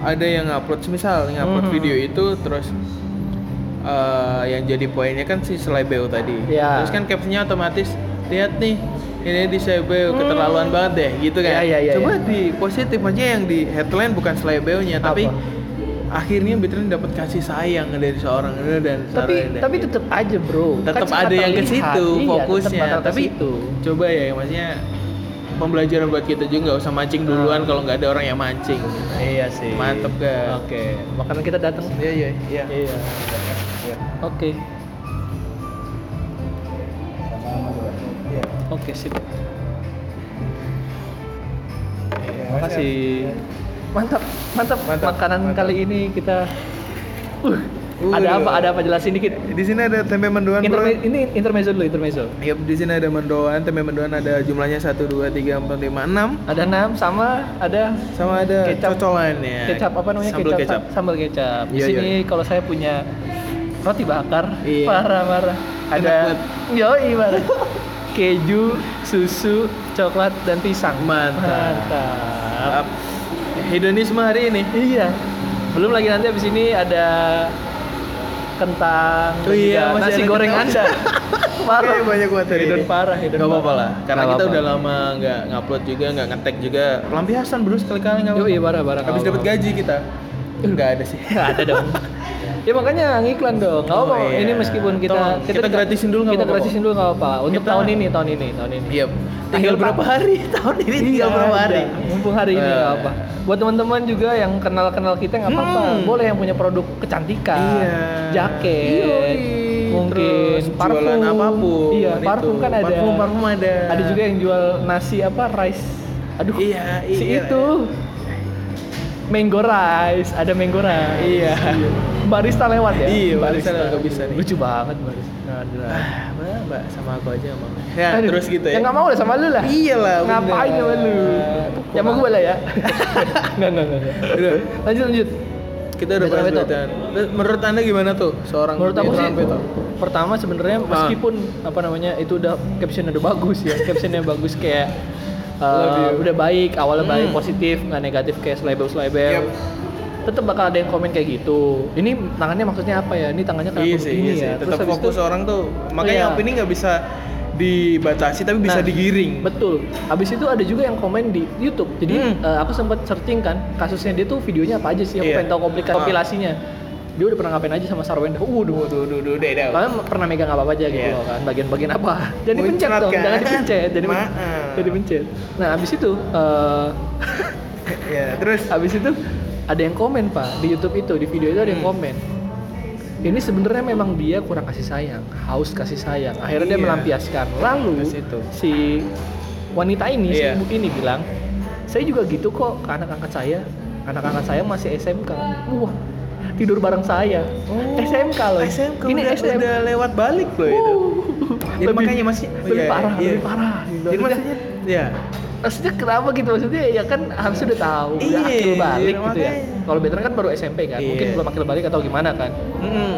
Speaker 1: ada yang upload semisal yang upload
Speaker 2: Mhm.
Speaker 1: video itu terus eh, yang jadi poinnya kan si Slebeo tadi.
Speaker 2: Iya.
Speaker 1: Terus kan captionnya otomatis lihat nih ini di Slebeo
Speaker 2: Hmm.
Speaker 1: keterlaluan banget deh gitu kan.
Speaker 2: Iya, iya, iya,
Speaker 1: Coba
Speaker 2: iya.
Speaker 1: di positif aja yang di headline bukan Slebeo-nya tapi
Speaker 2: Apa?
Speaker 1: akhirnya Bitrin dapat kasih sayang dari seorang Rene dan
Speaker 2: tapi
Speaker 1: Sarah Rene.
Speaker 2: tapi tetap aja bro Kan
Speaker 1: tetap
Speaker 2: cuma
Speaker 1: ada yang ke
Speaker 2: terlihat.
Speaker 1: situ
Speaker 2: Iya,
Speaker 1: fokusnya
Speaker 2: tetap bakal ke
Speaker 1: tapi
Speaker 2: situ.
Speaker 1: coba ya maksudnya pembelajaran buat kita juga nggak usah mancing duluan
Speaker 2: Hmm.
Speaker 1: kalau nggak ada orang yang mancing
Speaker 2: Iya sih.
Speaker 1: Mantep, guys.
Speaker 2: Oke, makanan kita datang.
Speaker 1: iya iya iya
Speaker 2: Iya. Oke. Oke, sip.
Speaker 1: Iya,
Speaker 2: Makasih. Mantap, mantap.
Speaker 1: Mantap,
Speaker 2: Makanan
Speaker 1: mantap.
Speaker 2: kali ini kita Uh,
Speaker 1: Uh, aduh.
Speaker 2: ada apa? Ada apa jelasin dikit.
Speaker 1: iya. di sini ada tempe mendoan bro
Speaker 2: Interme- ini intermezzo dulu, intermezzo.
Speaker 1: Yup, di sini ada mendoan, tempe mendoan ada jumlahnya 1, 2, 3, 4, 5, 6
Speaker 2: Ada enam sama ada
Speaker 1: Sama ada
Speaker 2: Kecap.
Speaker 1: cocolan ya
Speaker 2: kecap apa namanya
Speaker 1: Sambal kecap,
Speaker 2: sa- sambal kecap di
Speaker 1: Iya,
Speaker 2: sini kalau saya punya roti bakar
Speaker 1: Iya.
Speaker 2: parah parah
Speaker 1: Enak
Speaker 2: ada yoi parah keju susu coklat dan pisang
Speaker 1: Mantap. Up.
Speaker 2: Mantap.
Speaker 1: Hedonisme hari ini
Speaker 2: iya belum lagi nanti abis ini ada kentang dan
Speaker 1: Oh iya,
Speaker 2: juga
Speaker 1: masih
Speaker 2: nasi
Speaker 1: ada
Speaker 2: goreng
Speaker 1: kentang.
Speaker 2: anda parah
Speaker 1: Kayaknya banyak banget hari
Speaker 2: Hedon
Speaker 1: ini.
Speaker 2: parah hedon
Speaker 1: Gak apa-apa
Speaker 2: parah.
Speaker 1: lah, karena
Speaker 2: Nggak
Speaker 1: kita
Speaker 2: apa-apa.
Speaker 1: udah lama nggak ngupload juga, nggak ngetek juga Pelampiasan bro sekali-kali nggak
Speaker 2: Yoi, parah-parah,
Speaker 1: Habis
Speaker 2: nggak
Speaker 1: dapat
Speaker 2: apa-apa.
Speaker 1: gaji kita Nggak ada sih
Speaker 2: Nggak ada dong. ya makanya ngiklan dong. Nggak
Speaker 1: Oh,
Speaker 2: apa-apa.
Speaker 1: iya.
Speaker 2: Ini meskipun kita
Speaker 1: Tolong, kita gratisin dulu nggak
Speaker 2: Kita
Speaker 1: apa-apa
Speaker 2: gratisin dulu nggak apa-apa. Untuk
Speaker 1: Kita-
Speaker 2: tahun ini, tahun ini, tahun ini.
Speaker 1: Iya, tinggal
Speaker 2: Akhir
Speaker 1: berapa
Speaker 2: tahun.
Speaker 1: hari tahun ini tinggal
Speaker 2: Iya,
Speaker 1: berapa hari?
Speaker 2: iya. Mumpung hari ini
Speaker 1: Eh.
Speaker 2: nggak apa. Buat teman-teman juga yang kenal-kenal kita nggak apa-apa.
Speaker 1: Hmm.
Speaker 2: Boleh yang punya produk kecantikan,
Speaker 1: Iya.
Speaker 2: Kan, jaket,
Speaker 1: Yoi.
Speaker 2: mungkin
Speaker 1: Terus jualan apapun.
Speaker 2: Iya,
Speaker 1: itu.
Speaker 2: parfum kan ada.
Speaker 1: Parfum, parfum ada.
Speaker 2: Ada juga yang jual nasi apa rice. Aduh,
Speaker 1: Iya,
Speaker 2: si
Speaker 1: iya.
Speaker 2: itu. Mango rice, ada mango rice.
Speaker 1: Iya.
Speaker 2: Barista lewat ya?
Speaker 1: Iya, barista lewat, nggak bisa nih.
Speaker 2: Lucu banget barista. Gila.
Speaker 1: Ah, mbak, mbak sama aku aja emang. Ya,
Speaker 2: Aduh,
Speaker 1: terus gitu ya.
Speaker 2: Ya nggak mau lah sama lu lah.
Speaker 1: Iyalah,
Speaker 2: Ngapain
Speaker 1: bener.
Speaker 2: sama lu? Ya mau gue lah ya. Enggak, enggak, enggak.
Speaker 1: Udah,
Speaker 2: Lanjut, lanjut.
Speaker 1: kita udah
Speaker 2: Veteran
Speaker 1: bahas
Speaker 2: Beto.
Speaker 1: Beto. Terus Menurut Anda gimana tuh seorang
Speaker 2: Menurut aku sih,
Speaker 1: veteran Beto?
Speaker 2: pertama sebenarnya
Speaker 1: Iya. Ah.
Speaker 2: meskipun apa namanya itu udah captionnya udah bagus ya, captionnya bagus kayak uh,
Speaker 1: Love you.
Speaker 2: udah baik, awalnya
Speaker 1: Hmm.
Speaker 2: baik, positif, nggak negatif kayak selebel
Speaker 1: Yep.
Speaker 2: selebel. Tetap bakal ada yang komen kayak gitu. Ini tangannya maksudnya apa ya? Ini tangannya kenapa
Speaker 1: Iya sih,
Speaker 2: begini
Speaker 1: iya sih.
Speaker 2: ya? Terus
Speaker 1: Tetap
Speaker 2: habis
Speaker 1: fokus
Speaker 2: itu-
Speaker 1: orang tuh. Makanya
Speaker 2: Iya.
Speaker 1: opini nggak bisa dibatasi tapi bisa
Speaker 2: Nah,
Speaker 1: digiring.
Speaker 2: Betul. Habis itu ada juga yang komen di YouTube. Jadi
Speaker 1: Hmm.
Speaker 2: eh, aku sempat searching kan kasusnya dia tuh videonya apa aja sih? Aku
Speaker 1: Iya.
Speaker 2: pengen tahu komplikasi
Speaker 1: Ah.
Speaker 2: kompilasinya. Dia udah pernah ngapain aja sama Sarwenda. Waduh,
Speaker 1: Duh, duh, duh, deh, deh.
Speaker 2: Kalian pernah megang apa aja gitu
Speaker 1: Iya.
Speaker 2: loh kan, bagian-bagian apa. Jangan
Speaker 1: Muncrat
Speaker 2: dipencet
Speaker 1: kan?
Speaker 2: dong,
Speaker 1: ah.
Speaker 2: jangan dipencet. Jadi
Speaker 1: Maaf.
Speaker 2: jadi pencet. Nah, habis itu eh,
Speaker 1: Ya, terus
Speaker 2: habis itu ada yang komen, Pak, di YouTube itu, di video itu ada yang
Speaker 1: Hmm.
Speaker 2: komen. ini sebenarnya memang dia kurang kasih sayang, haus kasih sayang. Akhirnya dia
Speaker 1: Iya.
Speaker 2: melampiaskan. Lalu
Speaker 1: Ke situ.
Speaker 2: si wanita ini, si
Speaker 1: Iya.
Speaker 2: ibu ini bilang, saya juga gitu kok ke anak angkat saya. Anak angkat saya masih SMK. Wah, tidur bareng saya.
Speaker 1: Oh,
Speaker 2: SMK loh.
Speaker 1: SMK
Speaker 2: ini
Speaker 1: udah,
Speaker 2: SMK.
Speaker 1: udah lewat balik loh itu.
Speaker 2: Uh,
Speaker 1: Jadi
Speaker 2: Lebih- Oh
Speaker 1: makanya masih
Speaker 2: lebih parah, lebih parah. Gitu.
Speaker 1: Jadi
Speaker 2: Maksudnya-
Speaker 1: maksudnya ya
Speaker 2: maksudnya kenapa gitu maksudnya ya kan harusnya udah tahu udah
Speaker 1: Iya,
Speaker 2: akil balik
Speaker 1: iya,
Speaker 2: gitu ya
Speaker 1: makanya.
Speaker 2: kalau veteran kan baru SMP kan
Speaker 1: Iya.
Speaker 2: mungkin belum akil balik atau gimana kan
Speaker 1: mm,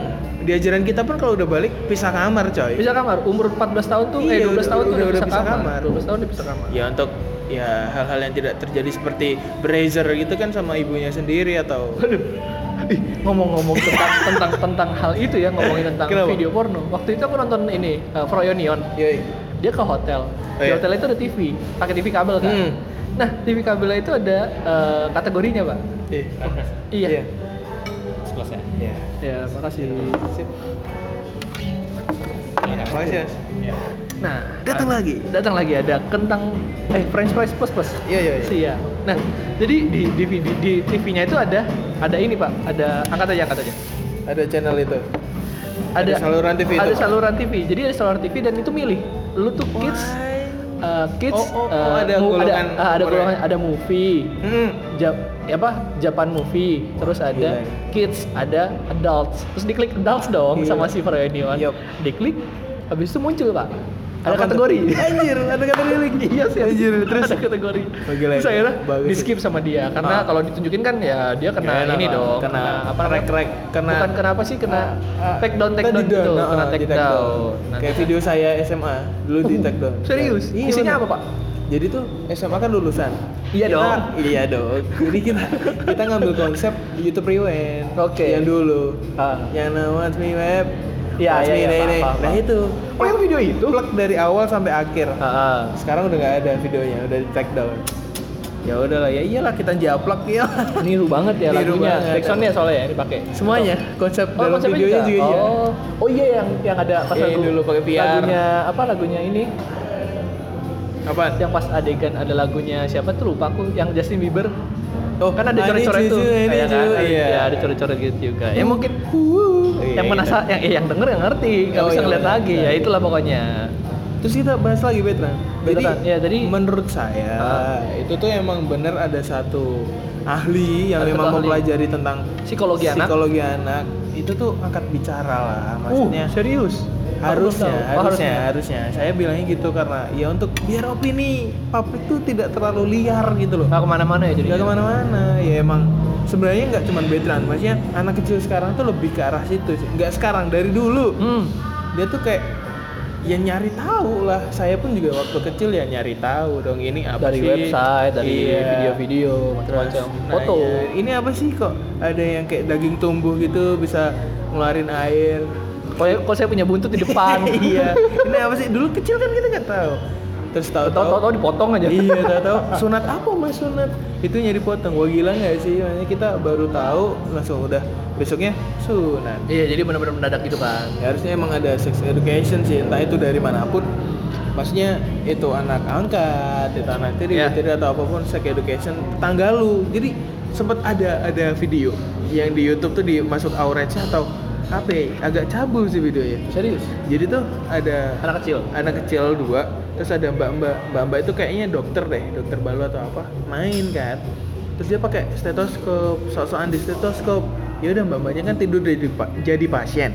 Speaker 1: di ajaran kita pun kalau udah balik pisah kamar coy.
Speaker 2: bisa kamar umur 14 tahun tuh eh
Speaker 1: Iya,
Speaker 2: 12 tahun
Speaker 1: udah-
Speaker 2: tuh udah,
Speaker 1: udah
Speaker 2: bisa,
Speaker 1: bisa
Speaker 2: kamar.
Speaker 1: kamar.
Speaker 2: 12 tahun udah bisa kamar
Speaker 1: Ya untuk ya hal-hal yang tidak terjadi seperti Brazier gitu kan sama ibunya sendiri atau
Speaker 2: Aduh. Ih, ngomong-ngomong tentang tentang tentang hal itu ya ngomongin tentang
Speaker 1: Kenapa?
Speaker 2: video porno waktu itu aku nonton ini uh, Froyonion
Speaker 1: Yoi.
Speaker 2: dia ke hotel
Speaker 1: Oh,
Speaker 2: di
Speaker 1: iya.
Speaker 2: hotel itu ada TV pakai TV kabel kan
Speaker 1: Hmm.
Speaker 2: nah TV kabel itu ada uh, kategorinya pak
Speaker 1: Eh,
Speaker 2: iya
Speaker 1: Iya.
Speaker 4: selesai
Speaker 1: Ya.
Speaker 2: ya makasih
Speaker 1: Sip. Iya. Makasih. Mas.
Speaker 2: nah
Speaker 1: Datang
Speaker 2: ah,
Speaker 1: lagi.
Speaker 2: datang lagi ada kentang eh French fries plus plus
Speaker 1: Iya, iya, iya.
Speaker 2: Iya. Nah, jadi di di, di, di TV-nya itu ada ada ini Pak, ada angkat aja angkat aja.
Speaker 1: Ada channel itu. Ada saluran TV itu,
Speaker 2: Ada
Speaker 1: Pak?
Speaker 2: saluran TV. Jadi ada saluran TV dan itu milih. Lu tuh kids uh, kids
Speaker 1: Oh, oh, oh,
Speaker 2: uh,
Speaker 1: ada
Speaker 2: mu-
Speaker 1: golongan
Speaker 2: ada, ah, ada
Speaker 1: umurnya.
Speaker 2: golongan ada movie.
Speaker 1: Hmm.
Speaker 2: Ja- ya apa Japan movie terus ada
Speaker 1: gila ya. ini.
Speaker 2: kids ada adults terus diklik adults dong
Speaker 1: Gila.
Speaker 2: sama si Veroenion
Speaker 1: Iya. Yup.
Speaker 2: diklik habis itu muncul pak
Speaker 1: Apa tuh?
Speaker 2: ada kategori
Speaker 1: Anjir, ada kategori lagi.
Speaker 2: iya sih
Speaker 1: Anjir, terus?
Speaker 2: ada kategori
Speaker 1: Oh, gila,
Speaker 2: terus akhirnya
Speaker 1: bagus.
Speaker 2: di skip sama dia
Speaker 1: Ah.
Speaker 2: karena kalau ditunjukin kan ya dia kena
Speaker 1: Gak enak,
Speaker 2: ini
Speaker 1: Pak.
Speaker 2: dong
Speaker 1: Kena
Speaker 2: apa namanya?
Speaker 1: rek-rek, kena-
Speaker 2: bukan kenapa sih kena uh,
Speaker 1: Ah,
Speaker 2: take down take
Speaker 1: tadi
Speaker 2: down gitu
Speaker 1: nah,
Speaker 2: kena
Speaker 1: di
Speaker 2: take
Speaker 1: take down.
Speaker 2: down Nah,
Speaker 1: Kayak video saya SMA dulu di
Speaker 2: Uh,
Speaker 1: take down.
Speaker 2: serius?
Speaker 1: Iya,
Speaker 2: Isinya
Speaker 1: bener.
Speaker 2: apa, Pak?
Speaker 1: Jadi tuh SMA kan lulusan.
Speaker 2: Iya
Speaker 1: Kita-
Speaker 2: dong.
Speaker 1: Iya dong. Jadi kita kita ngambil konsep YouTube Rewind.
Speaker 2: Oke.
Speaker 1: Yang dulu.
Speaker 2: Ah.
Speaker 1: Yang nama Me Web.
Speaker 2: Iya,
Speaker 1: What's
Speaker 2: iya,
Speaker 1: Me Day
Speaker 2: iya, paham,
Speaker 1: Day.
Speaker 2: paham,
Speaker 1: Nah
Speaker 2: paham.
Speaker 1: itu.
Speaker 2: Oh, yang video itu?
Speaker 1: Plug dari awal sampai akhir.
Speaker 2: Ah, ah.
Speaker 1: Sekarang udah nggak ada videonya, udah di take down. Ya udahlah, ya iyalah kita japlak
Speaker 2: iya.
Speaker 1: ya.
Speaker 2: niru banget ya
Speaker 1: Niru
Speaker 2: lagunya
Speaker 1: banget.
Speaker 2: backsoundnya soalnya ya dipakai
Speaker 1: Semuanya konsep
Speaker 2: Oh,
Speaker 1: dalam
Speaker 2: konsepnya
Speaker 1: videonya juga, iya.
Speaker 2: oh. oh iya yang yang ada pas
Speaker 1: Iya,
Speaker 2: lagu
Speaker 1: dulu pakai VR.
Speaker 2: lagunya apa lagunya ini
Speaker 1: Apaan?
Speaker 2: yang pas adegan ada lagunya siapa tuh lupa aku yang Justin Bieber
Speaker 1: Oh,
Speaker 2: kan
Speaker 1: I
Speaker 2: ada
Speaker 1: need
Speaker 2: coret-coret
Speaker 1: you,
Speaker 2: tuh
Speaker 1: I need
Speaker 2: kayak kan
Speaker 1: you,
Speaker 2: ada-
Speaker 1: iya. Hmm.
Speaker 2: ya, ada coret-coret gitu juga ya mungkin yang
Speaker 1: Iya,
Speaker 2: penasa yang eh, yang denger yang ngerti nggak
Speaker 1: Oh, iya,
Speaker 2: bisa ngeliat
Speaker 1: benar.
Speaker 2: lagi ya itulah pokoknya
Speaker 1: Terus kita bahas lagi Betran. Jadi,
Speaker 2: Betran, ya, jadi-
Speaker 1: menurut saya
Speaker 2: Ah.
Speaker 1: itu tuh emang bener ada satu ahli yang
Speaker 2: Ada
Speaker 1: memang
Speaker 2: satu ahli.
Speaker 1: mempelajari tentang
Speaker 2: psikologi anak
Speaker 1: psikologi anak. Itu tuh angkat bicara lah maksudnya.
Speaker 2: uh serius
Speaker 1: harusnya,
Speaker 2: Aku baru tahu. Oh,
Speaker 1: harusnya, harusnya. Saya bilangnya gitu karena ya untuk biar opini publik tuh tidak terlalu liar gitu loh.
Speaker 2: nggak kemana-mana ya jadi
Speaker 1: Gak kemana-mana ya emang sebenarnya nggak cuman veteran maksudnya anak kecil sekarang tuh lebih ke arah situ sih nggak sekarang dari dulu
Speaker 2: hmm
Speaker 1: dia tuh kayak ya nyari tahu lah saya pun juga waktu kecil ya nyari tahu dong ini apa
Speaker 2: dari
Speaker 1: sih
Speaker 2: website dari
Speaker 1: Iya.
Speaker 2: video-video macam-macam
Speaker 1: Terus nah,
Speaker 2: foto
Speaker 1: nanya, ini apa sih kok ada yang kayak daging tumbuh gitu bisa ngeluarin air
Speaker 2: kok kok saya punya buntut di depan
Speaker 1: iya ini apa sih dulu kecil kan kita nggak tahu terus
Speaker 2: tahu-tahu
Speaker 1: tahu-tahu
Speaker 2: tahu dipotong aja
Speaker 1: iya tahu-tahu sunat apa mas sunat itu nyari potong wah gila nggak sih makanya kita baru tahu langsung udah besoknya sunat
Speaker 2: Iya, jadi benar-benar mendadak gitu kan.
Speaker 1: Ya, harusnya emang ada sex education sih entah itu dari manapun maksudnya itu anak angkat itu anak tiri
Speaker 2: Ya.
Speaker 1: tiri atau apapun sex education tetangga lu jadi sempet ada ada video yang di YouTube tuh dimasuk auratnya atau apa ya, agak cabul sih videonya
Speaker 2: Serius.
Speaker 1: jadi tuh ada
Speaker 2: Anak kecil.
Speaker 1: anak kecil dua terus ada mbak mbak mbak mbak itu kayaknya dokter deh dokter balu atau apa main kan terus dia pakai stetoskop sok-sokan di stetoskop ya udah mbak mbaknya kan tidur jadi pa- jadi pasien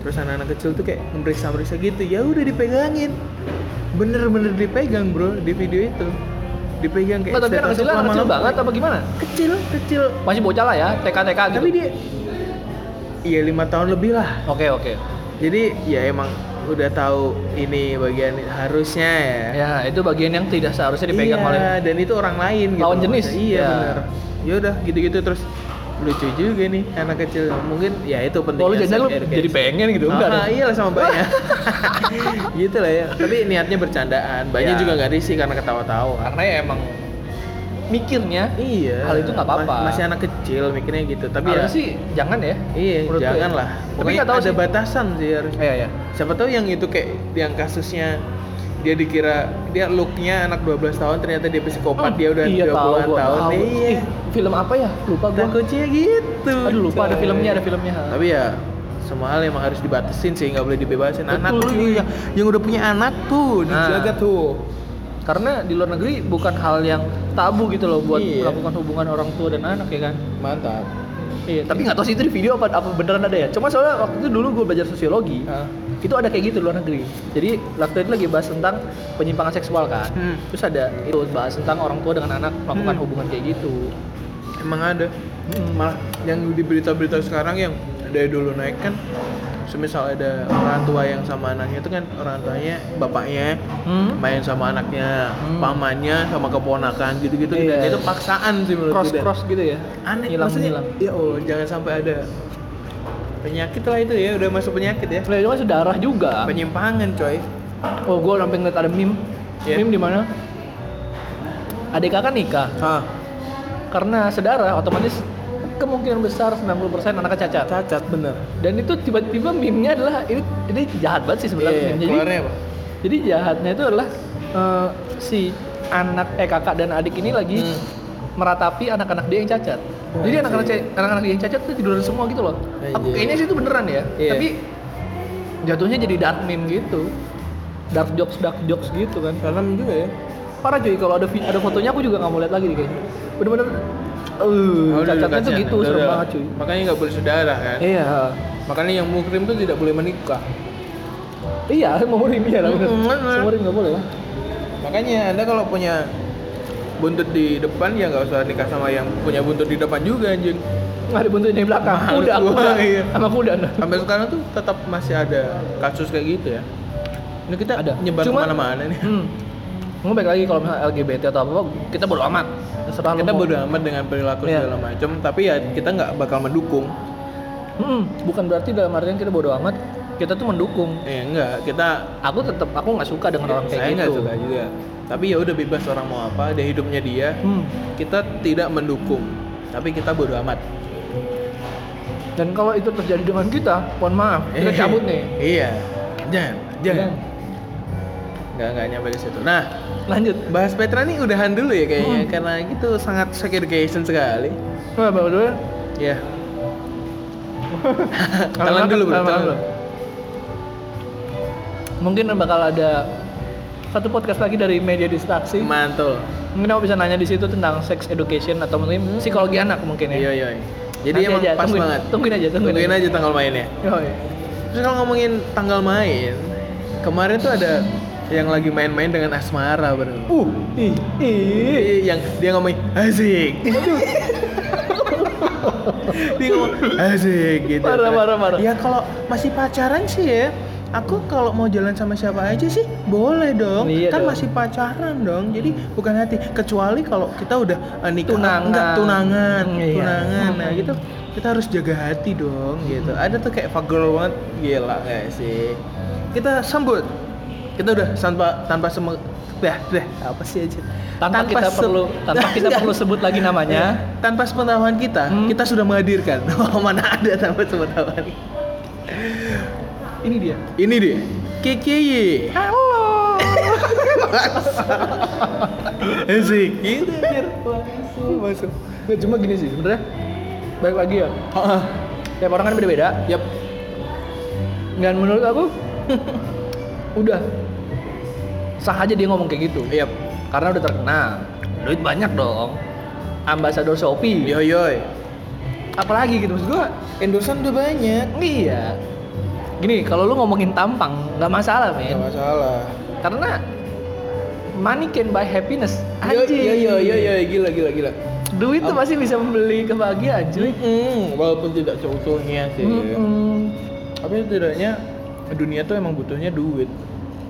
Speaker 1: terus anak-anak kecil tuh kayak meriksa meriksa gitu ya udah dipegangin bener-bener dipegang bro di video itu dipegang kayak
Speaker 2: Nggak, Oh, tapi anak kecil anak kecil
Speaker 1: lama-lama.
Speaker 2: banget apa gimana?
Speaker 1: kecil kecil
Speaker 2: Masih bocah lah ya, TK-TK gitu.
Speaker 1: tapi dia iya lima tahun lebih lah
Speaker 2: Oke, oke.
Speaker 1: jadi ya emang udah tahu ini bagian harusnya ya.
Speaker 2: Ya, itu bagian yang tidak seharusnya dipegang
Speaker 1: iya,
Speaker 2: oleh
Speaker 1: dan itu orang lain gitu.
Speaker 2: Lawan jenis.
Speaker 1: Iya,
Speaker 2: Ya.
Speaker 1: benar. Ya udah gitu-gitu terus lucu juga nih anak kecil. Mungkin ya itu penting.
Speaker 2: Kalau Oh, lu jadi lu jadi pengen gitu, enggak
Speaker 1: Ah,
Speaker 2: dong?
Speaker 1: iyalah sama banyak. gitu lah ya. Tapi niatnya bercandaan. Banyak
Speaker 2: Ya.
Speaker 1: juga nggak risih karena ketawa-tawa.
Speaker 2: Karena ya emang mikirnya
Speaker 1: Iya.
Speaker 2: Hal itu nggak apa-apa.
Speaker 1: Ma- masih anak kecil mikirnya gitu. Tapi
Speaker 2: harusnya
Speaker 1: ya
Speaker 2: sih jangan ya.
Speaker 1: Iya,
Speaker 2: menurut gue ya.
Speaker 1: jangan lah.
Speaker 2: Tapi
Speaker 1: Pokoknya
Speaker 2: nggak tahu
Speaker 1: ada
Speaker 2: sih.
Speaker 1: batasan sih harus.
Speaker 2: Iya, iya.
Speaker 1: Siapa tahu yang itu kayak yang kasusnya dia dikira dia looknya anak 12 tahun ternyata dia psikopat dia udah
Speaker 2: iya,
Speaker 1: 30-an
Speaker 2: tahu, gua
Speaker 1: tahun.
Speaker 2: tahu.
Speaker 1: Iya.
Speaker 2: Ih, film apa ya? Lupa gua.
Speaker 1: Takutnya gitu.
Speaker 2: Aduh, lupa ada
Speaker 1: coy.
Speaker 2: filmnya, ada filmnya.
Speaker 1: Tapi ya semua hal emang harus dibatasin sih nggak boleh dibebasin anak
Speaker 2: Betul,
Speaker 1: tuh
Speaker 2: Wi.
Speaker 1: yang, yang udah punya anak tuh
Speaker 2: Nah.
Speaker 1: dijaga tuh
Speaker 2: Karena di luar negeri bukan hal yang tabu gitu loh buat
Speaker 1: Iya.
Speaker 2: melakukan hubungan orang tua dan anak ya kan.
Speaker 1: mantap
Speaker 2: Iya, tapi nggak tahu sih itu di video apa apa beneran ada ya. Cuma soalnya waktu itu dulu gue belajar sosiologi,
Speaker 1: Ah.
Speaker 2: itu ada kayak gitu di luar negeri. Jadi waktu itu lagi bahas tentang penyimpangan seksual kan.
Speaker 1: Hmm.
Speaker 2: Terus ada itu bahas tentang orang tua dengan anak melakukan
Speaker 1: Hmm.
Speaker 2: hubungan kayak gitu.
Speaker 1: emang ada
Speaker 2: Hmm.
Speaker 1: malah yang di berita-berita sekarang yang dari dulu naik kan semisal ada orang tua yang sama anaknya itu kan orang tuanya bapaknya
Speaker 2: Hmm?
Speaker 1: main sama anaknya
Speaker 2: Hmm.
Speaker 1: pamannya sama keponakan gitu-gitu Dan
Speaker 2: Iya.
Speaker 1: itu paksaan sih menurut
Speaker 2: Cross
Speaker 1: gue.
Speaker 2: cross gitu ya.
Speaker 1: aneh
Speaker 2: hilang
Speaker 1: maksudnya
Speaker 2: hilang.
Speaker 1: ya Allah jangan sampai ada penyakit lah itu ya udah masuk penyakit ya
Speaker 2: Nah, itu kan sedarah juga.
Speaker 1: penyimpangan coy
Speaker 2: Oh, gue sampai ngeliat ada meme.
Speaker 1: Iya.
Speaker 2: Meme di mana? Adik kakak nikah.
Speaker 1: ah
Speaker 2: Karena sedara otomatis kemungkinan besar 90% anaknya cacat.
Speaker 1: cacat bener
Speaker 2: Dan itu tiba-tiba meme-nya adalah ini ini jahat banget sih sebenarnya.
Speaker 1: iya
Speaker 2: meme-nya. Jadi-
Speaker 1: keluarnya apa
Speaker 2: Jadi jahatnya itu adalah eh, si anak eh kakak dan adik ini lagi
Speaker 1: Hmm.
Speaker 2: meratapi anak-anak dia yang cacat.
Speaker 1: Oh,
Speaker 2: Jadi anak-anak
Speaker 1: anjing.
Speaker 2: ca- anak-anak dia yang cacat itu tiduran semua gitu loh. Aku
Speaker 1: Anjing.
Speaker 2: kayaknya sih itu beneran ya.
Speaker 1: Iya.
Speaker 2: Tapi jatuhnya jadi dark meme gitu. Dark jokes dark jokes gitu kan.
Speaker 1: dalam juga ya
Speaker 2: Parah cuy kalau ada vi- ada fotonya aku juga nggak mau lihat lagi nih kayaknya. Bener-bener eh
Speaker 1: Oh, udah
Speaker 2: cacatnya tuh
Speaker 1: kasihan,
Speaker 2: gitu
Speaker 1: udah,
Speaker 2: serem
Speaker 1: udah.
Speaker 2: banget cuy.
Speaker 1: makanya nggak boleh saudara kan
Speaker 2: Iya.
Speaker 1: makanya yang mukrim tuh tidak boleh menikah
Speaker 2: Iya, mau dia lah bener.
Speaker 1: Mm, bener.
Speaker 2: Semurim nggak boleh ya? lah.
Speaker 1: makanya anda kalau punya buntut di depan ya nggak usah nikah sama yang punya buntut di depan juga anjing
Speaker 2: Nggak dibentukin dari belakang.
Speaker 1: Malu
Speaker 2: Kuda,
Speaker 1: gua,
Speaker 2: kuda.
Speaker 1: iya.
Speaker 2: Sama kuda. nah.
Speaker 1: sampai sekarang tuh tetap masih ada kasus kayak gitu ya ini kita
Speaker 2: Ada.
Speaker 1: nyebar
Speaker 2: Cuma-
Speaker 1: kemana-mana nih
Speaker 2: Hmm. Ngomong baik lagi kalau misalnya LGBT atau apa, kita bodo amat. Terserah
Speaker 1: kita
Speaker 2: bodo
Speaker 1: bodo amat dengan perilaku
Speaker 2: Iya.
Speaker 1: segala macam tapi ya kita nggak bakal mendukung
Speaker 2: Hmm, bukan berarti dalam artian kita bodo amat, kita tuh mendukung.
Speaker 1: ya enggak kita
Speaker 2: Aku tetap aku nggak suka dengan orang kayak
Speaker 1: saya nggak
Speaker 2: gitu.
Speaker 1: suka juga tapi ya udah bebas orang mau apa dia hidupnya dia
Speaker 2: Hmm.
Speaker 1: kita tidak mendukung tapi kita bodo amat
Speaker 2: Dan kalau itu terjadi dengan kita, mohon maaf, kita cabut nih.
Speaker 1: iya
Speaker 2: Iya.
Speaker 1: jangan jangan
Speaker 2: Jangan.
Speaker 1: nggak nggak nyampe ke situ nah
Speaker 2: Lanjut.
Speaker 1: bahas Petra nih udahan dulu ya kayaknya
Speaker 2: Hmm.
Speaker 1: karena itu sangat sex education sekali
Speaker 2: Nah, bawa dulu.
Speaker 1: ya telan dulu bro
Speaker 2: Telan
Speaker 1: telan
Speaker 2: dulu. Mungkin bakal ada satu podcast lagi dari media distraksi.
Speaker 1: mantul
Speaker 2: mungkin aku bisa nanya di situ tentang sex education atau mungkin psikologi anak mungkin
Speaker 1: Hmm.
Speaker 2: ya.
Speaker 1: iya iya jadi
Speaker 2: Nanti
Speaker 1: emang
Speaker 2: aja,
Speaker 1: pas
Speaker 2: tungguin-
Speaker 1: banget
Speaker 2: Tungguin aja, tungguin,
Speaker 1: tungguin aja tanggal mainnya
Speaker 2: Yoi.
Speaker 1: Terus kalau ngomongin tanggal main, kemarin tuh ada yang lagi main-main dengan asmara bro.
Speaker 2: Uh, ih, ih.
Speaker 1: Iya, yang dia ngomongin asik. dia ngomong asik gitu.
Speaker 2: Parah, parah, parah.
Speaker 1: Ya kalau masih pacaran sih ya, aku kalau mau jalan sama siapa aja sih boleh dong.
Speaker 2: Iya
Speaker 1: kan
Speaker 2: dong.
Speaker 1: masih pacaran dong. Jadi bukan hati kecuali kalau kita udah eh, nikah
Speaker 2: Tunangan.
Speaker 1: enggak tunangan,
Speaker 2: Hmm, iya.
Speaker 1: tunangan. Nah,
Speaker 2: Hmm.
Speaker 1: gitu kita harus jaga hati dong gitu. Ada tuh kayak fagirl banget gila gak sih? Kita sambut. Kita udah tanpa tanpa semua dah dah apa sih aja
Speaker 2: Tanpa, kita
Speaker 1: se-
Speaker 2: perlu tanpa kita perlu sebut lagi namanya.
Speaker 1: tanpa sepengetahuan kita
Speaker 2: Hmm.
Speaker 1: kita sudah menghadirkan Oh, mana ada tanpa sepengetahuan Iya.
Speaker 2: Ini dia.
Speaker 1: ini dia KKY
Speaker 2: Halo.
Speaker 1: asik
Speaker 2: Gitu biar langsung masuk. Nggak, cuma gini sih sebenarnya. Baik ya? lagi ya.
Speaker 1: Ah,
Speaker 2: Tiap orang kan beda-beda.
Speaker 1: yap
Speaker 2: Dan menurut aku udah sah aja dia ngomong kayak gitu.
Speaker 1: yap
Speaker 2: Karena udah terkenal. Duit banyak dong. Ambasador Shopee.
Speaker 1: yoi yoi
Speaker 2: apalagi gitu maksud gua
Speaker 1: endosan udah banyak
Speaker 2: iya gini kalau lu ngomongin tampang nggak masalah
Speaker 1: nggak
Speaker 2: men
Speaker 1: masalah
Speaker 2: karena money can buy happiness
Speaker 1: yo
Speaker 2: anjing
Speaker 1: yo yo yo yo gila gila gila
Speaker 2: duit tuh masih bisa membeli kebahagiaan
Speaker 1: Iya,
Speaker 2: cuy
Speaker 1: Mm-mm, walaupun tidak seutuhnya sih
Speaker 2: Mm-mm.
Speaker 1: tapi setidaknya dunia tuh emang butuhnya duit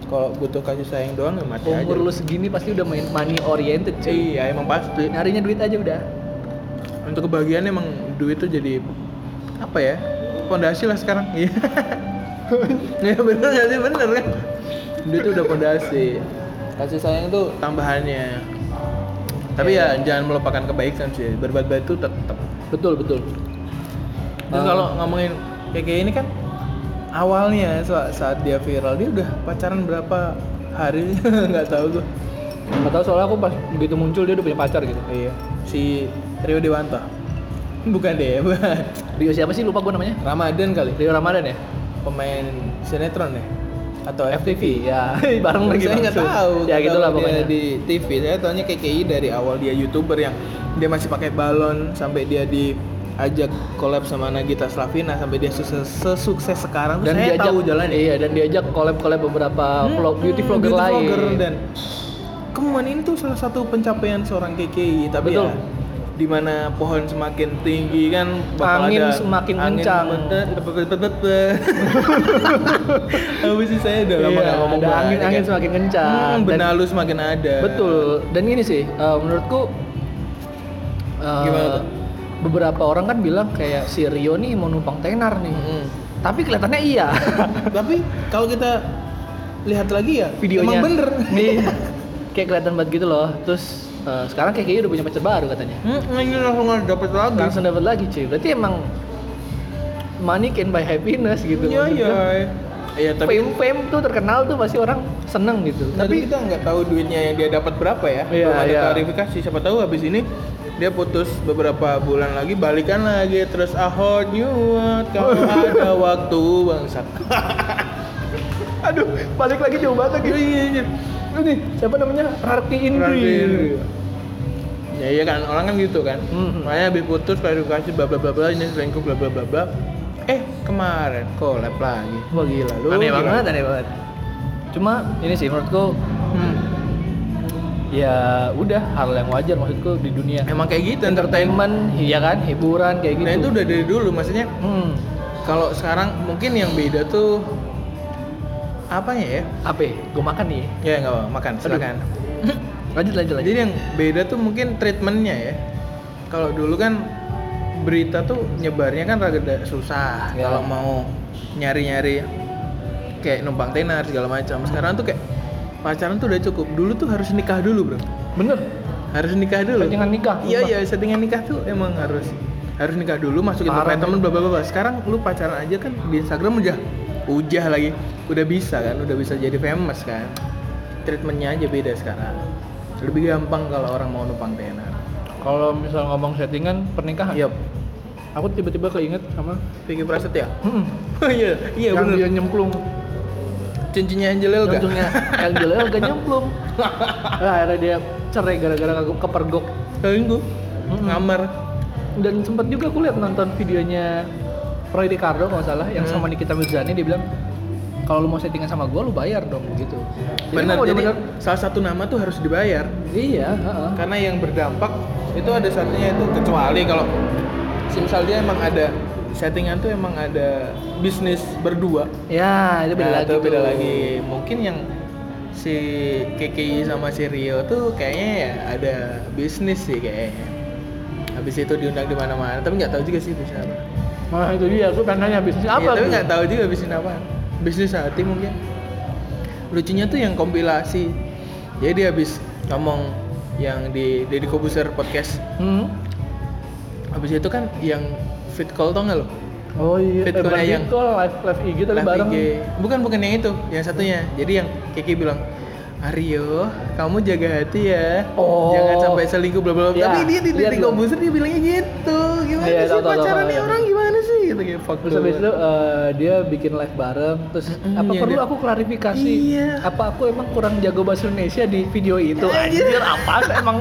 Speaker 1: kalau butuh kasih sayang doang ya mati
Speaker 2: umur lu
Speaker 1: aja
Speaker 2: segini pasti udah main money oriented cuy
Speaker 1: iya emang pasti
Speaker 2: nyarinya duit aja udah
Speaker 1: untuk kebahagiaan emang duit tuh jadi apa ya pondasi lah sekarang iya ya bener gak sih bener kan duit tuh udah pondasi kasih sayang tuh tambahannya tapi ya jangan melupakan kebaikan sih berbuat baik tuh tetap
Speaker 2: betul betul
Speaker 1: terus
Speaker 2: Ah.
Speaker 1: kalau ngomongin kayak kayak ini kan awalnya saat, saat dia viral dia udah pacaran berapa hari nggak tahu tuh
Speaker 2: nggak tahu soalnya aku pas begitu muncul dia udah punya pacar gitu
Speaker 1: iya si Rio Iya. Dewanto bukan deh bukan.
Speaker 2: Rio siapa sih lupa gue namanya
Speaker 1: Ramadan kali
Speaker 2: Rio Ramadan ya
Speaker 1: pemain sinetron ya atau
Speaker 2: FTV ya bareng lagi
Speaker 1: saya nggak
Speaker 2: langsung.
Speaker 1: tahu
Speaker 2: ya
Speaker 1: nggak
Speaker 2: gitulah
Speaker 1: tahu dia
Speaker 2: pokoknya
Speaker 1: di TV saya tahunya KKI dari awal dia youtuber yang dia masih pakai balon sampai dia diajak collab sama Nagita Slavina sampai dia sukses sesukses sekarang
Speaker 2: dan
Speaker 1: saya
Speaker 2: diajak
Speaker 1: tahu jalannya
Speaker 2: iya dan diajak collab collab beberapa vlog
Speaker 1: Hmm,
Speaker 2: beauty vlogger lain
Speaker 1: dan kemuan ini tuh salah satu pencapaian seorang KKI tapi
Speaker 2: Betul.
Speaker 1: ya dimana pohon semakin tinggi kan bakal
Speaker 2: Angin
Speaker 1: ada
Speaker 2: semakin
Speaker 1: angin
Speaker 2: kencang.
Speaker 1: betet, betet, betet, betet. Apa sih saya udah lama
Speaker 2: Iya,
Speaker 1: nggak ngomong
Speaker 2: ada
Speaker 1: banget,
Speaker 2: angin angin
Speaker 1: kan?
Speaker 2: semakin kencang
Speaker 1: Hmm,
Speaker 2: Dan-
Speaker 1: benalu semakin ada.
Speaker 2: Betul. Dan ini sih eh, menurutku eh,
Speaker 1: Gimana tuh?
Speaker 2: beberapa orang kan bilang kayak si Rio nih mau numpang tenar nih.
Speaker 1: Mm.
Speaker 2: Tapi kelihatannya iya.
Speaker 1: Tapi kalau kita lihat lagi ya,
Speaker 2: Videonya.
Speaker 1: emang bener.
Speaker 2: Nih. kayak kelihatan banget gitu loh. Terus eh, sekarang kayak kayaknya udah punya pacar baru katanya.
Speaker 1: Hmm, ini langsung dapet lagi.
Speaker 2: Langsung dapat lagi cuy. Berarti emang money can buy happiness gitu.
Speaker 1: Iya, iya.
Speaker 2: Maksudnya,
Speaker 1: Iya, tapi Nah,
Speaker 2: Fame-fame tuh terkenal tuh pasti orang seneng gitu.
Speaker 1: tapi
Speaker 2: Tapi
Speaker 1: kita nggak tahu duitnya yang dia dapat berapa ya.
Speaker 2: Iya,
Speaker 1: Belum ada
Speaker 2: iya.
Speaker 1: klarifikasi. Siapa tahu habis ini dia putus beberapa bulan lagi balikan lagi terus "Ah, I hold you out, kalau ada waktu bangsat.
Speaker 2: aduh balik lagi jauh banget lagi.
Speaker 1: Iya, iya.
Speaker 2: Ini siapa namanya? Rarti Indri.
Speaker 1: Ya iya kan, orang kan gitu kan.
Speaker 2: Mm-mm.
Speaker 1: Makanya habis putus klarifikasi bla bla bla bla ini selingkuh bla bla bla bla. Eh, kemarin collab lagi.
Speaker 2: Wah gila lu.
Speaker 1: Aneh
Speaker 2: gila.
Speaker 1: banget,
Speaker 2: aneh banget. Cuma ini sih menurutku
Speaker 1: Hmm.
Speaker 2: ya udah hal yang wajar maksudku di dunia.
Speaker 1: Emang kayak gitu entertainment.
Speaker 2: Entertainment, iya kan, hiburan kayak gitu.
Speaker 1: Nah, itu udah dari dulu maksudnya
Speaker 2: hmm,
Speaker 1: kalau sekarang mungkin yang beda tuh apanya ya?
Speaker 2: apa? ya? Gua makan nih.
Speaker 1: Ya nggak apa makan
Speaker 2: Aduh.
Speaker 1: silakan.
Speaker 2: Lanjut lanjut lanjut.
Speaker 1: Jadi yang beda tuh mungkin treatmentnya ya. Kalau dulu kan berita tuh nyebarnya kan rada susah.
Speaker 2: Ya.
Speaker 1: Kalau mau nyari-nyari kayak numpang tenar segala macam. Sekarang tuh kayak pacaran tuh udah cukup. Dulu tuh harus nikah dulu bro.
Speaker 2: Bener.
Speaker 1: Harus nikah dulu.
Speaker 2: Settingan nikah,
Speaker 1: Iya
Speaker 2: sumpah.
Speaker 1: iya settingan nikah tuh emang harus harus nikah dulu masukin
Speaker 2: Parah,
Speaker 1: profil temen bla bla bla. Sekarang lu pacaran aja kan di Instagram udah ujah lagi. Udah bisa kan, udah bisa jadi famous kan. Treatmentnya aja beda sekarang. Lebih gampang kalau orang mau numpang tenar.
Speaker 2: Kalau misal ngomong settingan pernikahan,
Speaker 1: Iya,
Speaker 2: aku tiba-tiba keinget sama
Speaker 1: Vicky Prasetya.
Speaker 2: hmm,
Speaker 1: Iya, iya
Speaker 2: yang
Speaker 1: benar.
Speaker 2: dia nyemplung.
Speaker 1: Cincinnya Angelil gak?
Speaker 2: Ujungnya yang jelek gak nyemplung. Nah, akhirnya dia cerai gara-gara kagum- kepergok
Speaker 1: Selingkuh.
Speaker 2: Mm-mm.
Speaker 1: Ngamar.
Speaker 2: dan sempat juga aku lihat nonton videonya Roy Ricardo kalau nggak salah yang
Speaker 1: Hmm.
Speaker 2: sama Nikita Mirzani dia bilang kalau lu mau settingan sama gua lu bayar dong gitu. Jadi
Speaker 1: Benar.
Speaker 2: emang
Speaker 1: Jadi
Speaker 2: bener-bener-
Speaker 1: salah satu nama tuh harus dibayar.
Speaker 2: iya, heeh.
Speaker 1: karena yang berdampak itu ada satunya itu kecuali kalau misal dia emang ada settingan tuh emang ada bisnis berdua
Speaker 2: Ya, itu beda
Speaker 1: Nah,
Speaker 2: lagi.
Speaker 1: itu
Speaker 2: tuh.
Speaker 1: beda lagi mungkin yang si KKI sama si Rio tuh kayaknya ya ada bisnis sih kayaknya habis itu diundang di mana-mana tapi nggak tahu juga sih bisnis apa
Speaker 2: Nah, itu dia aku pengen nanya bisnis
Speaker 1: Iya,
Speaker 2: apa.
Speaker 1: tapi
Speaker 2: tuh?
Speaker 1: nggak tahu juga bisnis apa bisnis hati mungkin lucunya tuh yang kompilasi jadi dia habis ngomong yang di Deddy Kobuser podcast
Speaker 2: Hmm?
Speaker 1: Habis itu kan yang fit call tau nggak lo?
Speaker 2: Oh iya,
Speaker 1: Fit Korea yang-
Speaker 2: itu live live IG tapi
Speaker 1: Live
Speaker 2: bareng.
Speaker 1: IG. Bukan bukan yang itu, yang satunya. Jadi yang Kiki bilang, Aryo, kamu jaga hati ya.
Speaker 2: Oh.
Speaker 1: Jangan sampai selingkuh bla bla. bla."
Speaker 2: Iya,
Speaker 1: Tapi dia di
Speaker 2: lihat
Speaker 1: Deddy
Speaker 2: gua.
Speaker 1: Kobuser dia bilangnya gitu. Gimana
Speaker 2: Iya,
Speaker 1: sih
Speaker 2: tahu, tahu,
Speaker 1: pacaran
Speaker 2: tahu,
Speaker 1: nih
Speaker 2: tahu.
Speaker 1: orang gimana sih gitu kayak fuck
Speaker 2: Terus habis itu eh, dia bikin live bareng, terus
Speaker 1: Mm-mm,
Speaker 2: apa
Speaker 1: iya,
Speaker 2: perlu
Speaker 1: dia-
Speaker 2: aku klarifikasi?
Speaker 1: Iya.
Speaker 2: Apa aku emang kurang jago bahasa Indonesia di video itu?
Speaker 1: Anjir.
Speaker 2: Anjir, apaan? emang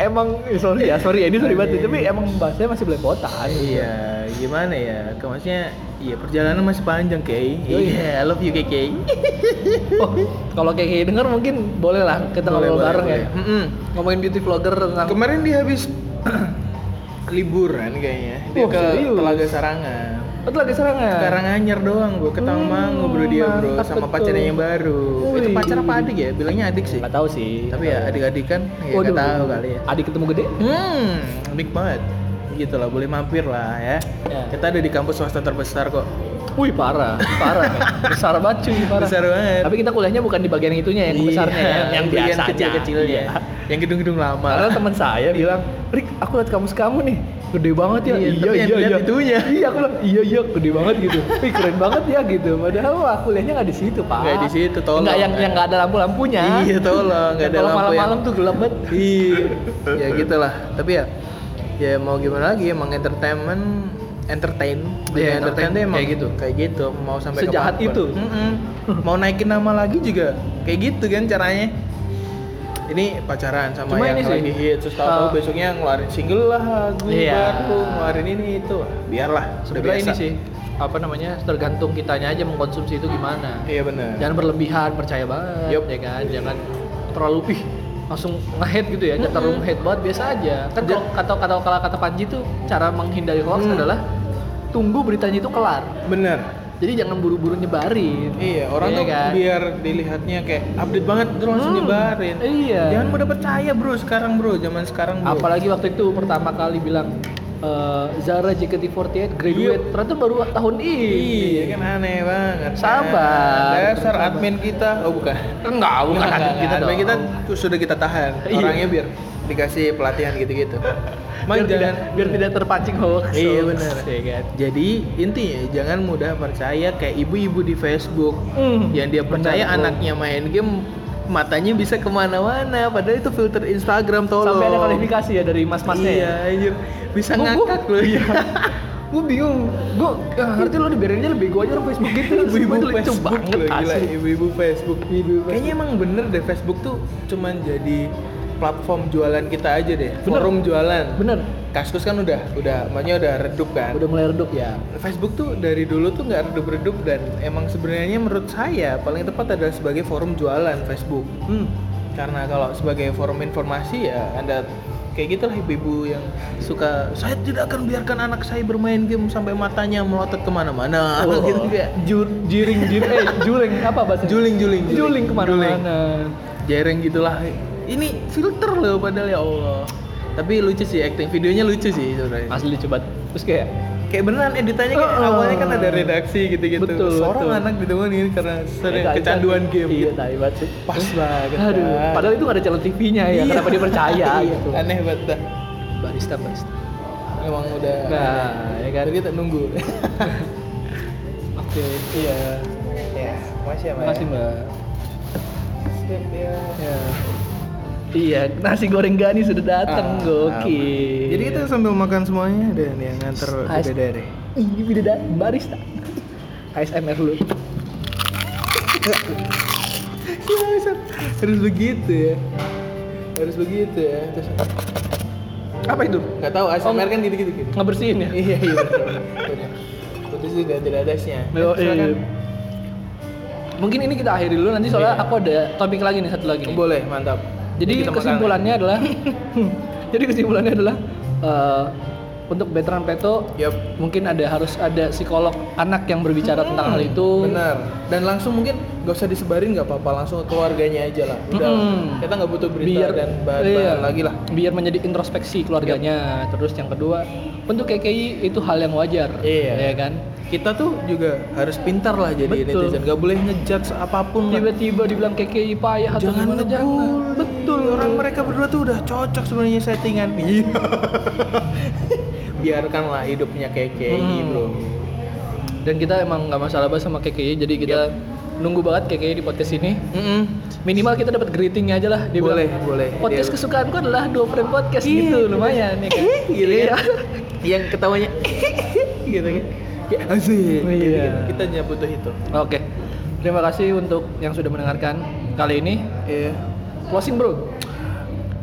Speaker 2: emang eh, sorry ya, sorry ya ini sorry banget, tapi emang bahasanya masih belepotan.
Speaker 1: Iya, gimana ya? Kayak Maksudnya, iya perjalanan masih panjang, Kay.
Speaker 2: Iya.
Speaker 1: Iya, I love you, Kay.
Speaker 2: Oh, kalau kayak gini denger mungkin boleh lah kita ngobrol bareng ya.
Speaker 1: Mm-mm.
Speaker 2: Ngomongin beauty vlogger tentang
Speaker 1: Kemarin dia habis liburan kayaknya. Dia
Speaker 2: Oh,
Speaker 1: ke
Speaker 2: serius?
Speaker 1: Telaga Sarangan.
Speaker 2: Betul lagi ya? serangan.
Speaker 1: Karanganyar doang bro, ketang
Speaker 2: Iya. Hmm,
Speaker 1: mangu bro dia bro
Speaker 2: mantap
Speaker 1: sama
Speaker 2: betul.
Speaker 1: pacarnya yang baru. Itu
Speaker 2: Wih.
Speaker 1: pacar apa adik ya? Bilangnya adik sih.
Speaker 2: Nggak tahu sih.
Speaker 1: Tapi ya adik-adik kan ya
Speaker 2: Waduh.
Speaker 1: nggak tahu kali ya.
Speaker 2: Adik ketemu gede?
Speaker 1: Hmm, unik banget. Gitu lah, boleh mampir lah ya.
Speaker 2: Ya.
Speaker 1: Kita ada di kampus swasta terbesar kok.
Speaker 2: Wih parah, parah. Besar banget cuy, parah.
Speaker 1: Besar banget.
Speaker 2: Tapi kita kuliahnya bukan di bagian yang itunya, yang
Speaker 1: Iya,
Speaker 2: besarnya ya, yang
Speaker 1: bagian
Speaker 2: biasa
Speaker 1: kecil-kecilnya.
Speaker 2: Iya.
Speaker 1: Yang gedung-gedung lama.
Speaker 2: Karena teman saya bilang, "Rik, aku lihat kamus kamu nih, gede banget ya."
Speaker 1: Iya, tapi yang dilihat itunya.
Speaker 2: Iya, aku bilang, "Iya, iya, gede banget gitu." Wih, keren banget ya gitu. Padahal wah, kuliahnya nggak di situ, Pak.
Speaker 1: Nggak di situ, tolong.
Speaker 2: Nggak yang yang nggak ada lampu-lampunya.
Speaker 1: Iya, tolong, nggak ada lampu
Speaker 2: Kalau
Speaker 1: yang-
Speaker 2: malam-malam tuh gelap banget.
Speaker 1: Iya, ya gitulah. Iya. Tapi ya ya mau gimana lagi emang entertainment entertain
Speaker 2: Iya,
Speaker 1: dunia entertain
Speaker 2: entertain
Speaker 1: tuh emang
Speaker 2: kayak gitu.
Speaker 1: kayak gitu mau sampai
Speaker 2: Sejahat
Speaker 1: kapanpun.
Speaker 2: itu.
Speaker 1: Mm-mm. mau naikin nama lagi juga kayak gitu kan caranya ini pacaran sama
Speaker 2: Cuma
Speaker 1: yang
Speaker 2: ini sih,
Speaker 1: lagi hit terus tahu-tahu
Speaker 2: uh,
Speaker 1: besoknya ngeluarin single lah lagu
Speaker 2: Iya.
Speaker 1: baru ngeluarin ini itu biarlah udah
Speaker 2: sebenarnya ini sih apa namanya tergantung kitanya aja mengkonsumsi itu gimana
Speaker 1: iya benar
Speaker 2: jangan berlebihan percaya banget
Speaker 1: Yup.
Speaker 2: ya kan jangan terlalu ih langsung nge-hate gitu ya jangan terlalu nge-hate banget biasa aja kan
Speaker 1: Ja-
Speaker 2: kalau kata kata kalau kata Panji tuh cara menghindari hoax
Speaker 1: Hmm.
Speaker 2: adalah tunggu beritanya itu kelar
Speaker 1: benar
Speaker 2: jadi jangan buru-buru nyebarin
Speaker 1: Iya, orang
Speaker 2: Iya
Speaker 1: tuh
Speaker 2: kan?
Speaker 1: biar dilihatnya kayak update banget terus langsung
Speaker 2: Hmm,
Speaker 1: nyebarin.
Speaker 2: iya.
Speaker 1: Jangan mudah percaya, Bro, sekarang, Bro, zaman sekarang, Bro.
Speaker 2: apalagi waktu itu pertama kali bilang eh, Zara JKT48 graduate
Speaker 1: Yup.
Speaker 2: ternyata baru tahun ini
Speaker 1: Iya, kan aneh banget.
Speaker 2: Sabar.
Speaker 1: Dasar admin kita. Oh, bukan.
Speaker 2: enggak bukan
Speaker 1: Enggak,
Speaker 2: adik
Speaker 1: enggak,
Speaker 2: kita
Speaker 1: admin
Speaker 2: dong
Speaker 1: kita tuh sudah kita tahan.
Speaker 2: Iya.
Speaker 1: Orangnya biar dikasih pelatihan gitu-gitu.
Speaker 2: biar
Speaker 1: Mang
Speaker 2: tidak
Speaker 1: jangan
Speaker 2: biar tidak terpancing hoax
Speaker 1: Iya,
Speaker 2: Hoax,
Speaker 1: benar.
Speaker 2: ya kan
Speaker 1: Jadi intinya jangan mudah percaya kayak ibu-ibu di Facebook
Speaker 2: Iya.
Speaker 1: yang dia percaya
Speaker 2: Benar, Bro.
Speaker 1: anaknya main game matanya bisa kemana-mana padahal itu filter Instagram tolong
Speaker 2: sampai ada klarifikasi ya dari mas-masnya
Speaker 1: iya,
Speaker 2: ya
Speaker 1: anjir. Bisa
Speaker 2: Gua- gua-
Speaker 1: ngakak loh. Iya.
Speaker 2: gue bingung gue nggak ya, ngerti lo dibiarinnya lebih gue aja orang Facebook gitu
Speaker 1: ibu-ibu Facebook
Speaker 2: banget
Speaker 1: loh, gila, iya.
Speaker 2: asli
Speaker 1: ibu-ibu Facebook. Kayaknya emang bener deh Facebook tuh cuman jadi platform jualan kita aja deh.
Speaker 2: Bener.
Speaker 1: Forum jualan.
Speaker 2: bener
Speaker 1: Kaskus kan udah udah makanya udah redup kan.
Speaker 2: udah mulai redup ya
Speaker 1: Facebook tuh dari dulu tuh nggak redup-redup dan emang sebenarnya menurut saya paling tepat adalah sebagai forum jualan Facebook.
Speaker 2: hmm.
Speaker 1: Karena kalau sebagai forum informasi ya Anda kayak gitulah ibu-ibu yang suka saya tidak akan biarkan anak saya bermain game sampai matanya melotot kemana-mana
Speaker 2: Oh.
Speaker 1: gitu kayak
Speaker 2: Jur, jiring jiring eh juling apa bahasa
Speaker 1: Juling, juling, juling.
Speaker 2: juling kemana-mana
Speaker 1: jereng gitulah ini filter loh padahal ya Allah tapi lucu sih acting videonya lucu sih sebenarnya
Speaker 2: asli coba terus kayak
Speaker 1: kayak beneran editannya kayak
Speaker 2: Oh.
Speaker 1: awalnya kan ada redaksi gitu-gitu
Speaker 2: Betul,
Speaker 1: seorang
Speaker 2: betul.
Speaker 1: anak ditemuin karena sering
Speaker 2: kayak-
Speaker 1: kecanduan game
Speaker 2: iya
Speaker 1: gitu.
Speaker 2: tai banget sih
Speaker 1: pas banget kan.
Speaker 2: aduh padahal itu nggak ada calon TV-nya ya
Speaker 1: Iya.
Speaker 2: kenapa dia percaya
Speaker 1: Iya,
Speaker 2: gitu
Speaker 1: aneh banget dah.
Speaker 2: barista barista
Speaker 1: emang udah
Speaker 2: nah ya kan
Speaker 1: Jadi kita nunggu
Speaker 2: oke
Speaker 1: iya ya makasih ya Mbak.
Speaker 2: makasih mbak
Speaker 1: Sip, ya.
Speaker 2: Ya. Iya, nasi goreng Gani sudah
Speaker 1: Ah,
Speaker 2: datang, gokil.
Speaker 1: aman. jadi kita sambil makan semuanya dan yang nganter
Speaker 2: As-
Speaker 1: beda deh
Speaker 2: ini beda barista. ASMR dulu. Iya,
Speaker 1: harus begitu ya harus begitu ya Terus,
Speaker 2: Apa itu?
Speaker 1: nggak tahu ASMR kan gitu gitu gitu
Speaker 2: Ngebersihin ya?
Speaker 1: iya iya udah putus juga tidak ada asnya
Speaker 2: Yo,
Speaker 1: Silakan.
Speaker 2: eh. Mungkin ini kita akhiri dulu nanti soalnya
Speaker 1: Iya.
Speaker 2: aku ada topik lagi nih satu lagi nih.
Speaker 1: boleh mantap
Speaker 2: iya. Jadi
Speaker 1: Kita makan.
Speaker 2: kesimpulannya adalah Jadi kesimpulannya adalah eh, untuk veteran peto
Speaker 1: Yup.
Speaker 2: mungkin ada harus ada psikolog anak yang berbicara tentang hal
Speaker 1: Hmm,
Speaker 2: itu.
Speaker 1: benar dan langsung mungkin gak usah disebarin nggak apa-apa langsung ke keluarganya aja lah udah
Speaker 2: Mm-mm.
Speaker 1: kita nggak butuh berita
Speaker 2: biar
Speaker 1: dan bahan,
Speaker 2: iya,
Speaker 1: lagi lah
Speaker 2: biar menjadi introspeksi keluarganya terus yang kedua untuk KKI itu hal yang wajar
Speaker 1: Iya.
Speaker 2: ya kan
Speaker 1: kita tuh juga harus pintar lah jadi
Speaker 2: Betul. Iya,
Speaker 1: netizen gak boleh ngejudge apapun lah.
Speaker 2: tiba-tiba dibilang KKI payah atau
Speaker 1: jangan
Speaker 2: gimana jangan
Speaker 1: ngebully.
Speaker 2: betul
Speaker 1: orang mereka berdua tuh udah cocok sebenarnya settingan iya biarkanlah hidupnya kayak kayak gitu
Speaker 2: Hmm.
Speaker 1: bro
Speaker 2: dan kita emang nggak masalah banget sama KKI jadi kita nunggu banget KKI di podcast ini
Speaker 1: Mm-mm.
Speaker 2: minimal kita dapat greetingnya aja lah dia
Speaker 1: Boleh,
Speaker 2: bilang,
Speaker 1: boleh. Iya.
Speaker 2: podcast
Speaker 1: Dia-
Speaker 2: kesukaanku adalah dua frame podcast gitu lumayan ya kan
Speaker 1: gitu
Speaker 2: Iya.
Speaker 1: kan yang ketawanya gitu kan ya asik gitu
Speaker 2: Iya.
Speaker 1: kan. kita hanya butuh itu
Speaker 2: oke terima kasih untuk yang sudah mendengarkan kali ini
Speaker 1: iya
Speaker 2: closing bro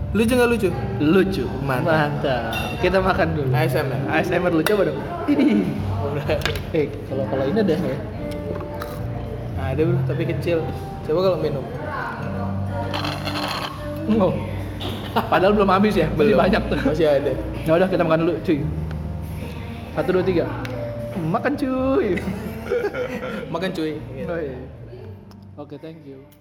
Speaker 1: lucu nggak lucu
Speaker 2: lucu
Speaker 1: Mantap.
Speaker 2: mantap kita makan dulu
Speaker 1: ASMR
Speaker 2: ASMR lu coba dong ini eh kalau kalau ini ada ya
Speaker 1: ada bro tapi kecil coba kalau minum
Speaker 2: oh. padahal belum habis ya masih
Speaker 1: Iya.
Speaker 2: banyak tuh
Speaker 1: masih ada
Speaker 2: ya udah kita makan dulu cuy satu dua tiga makan cuy
Speaker 1: makan cuy
Speaker 2: oke thank you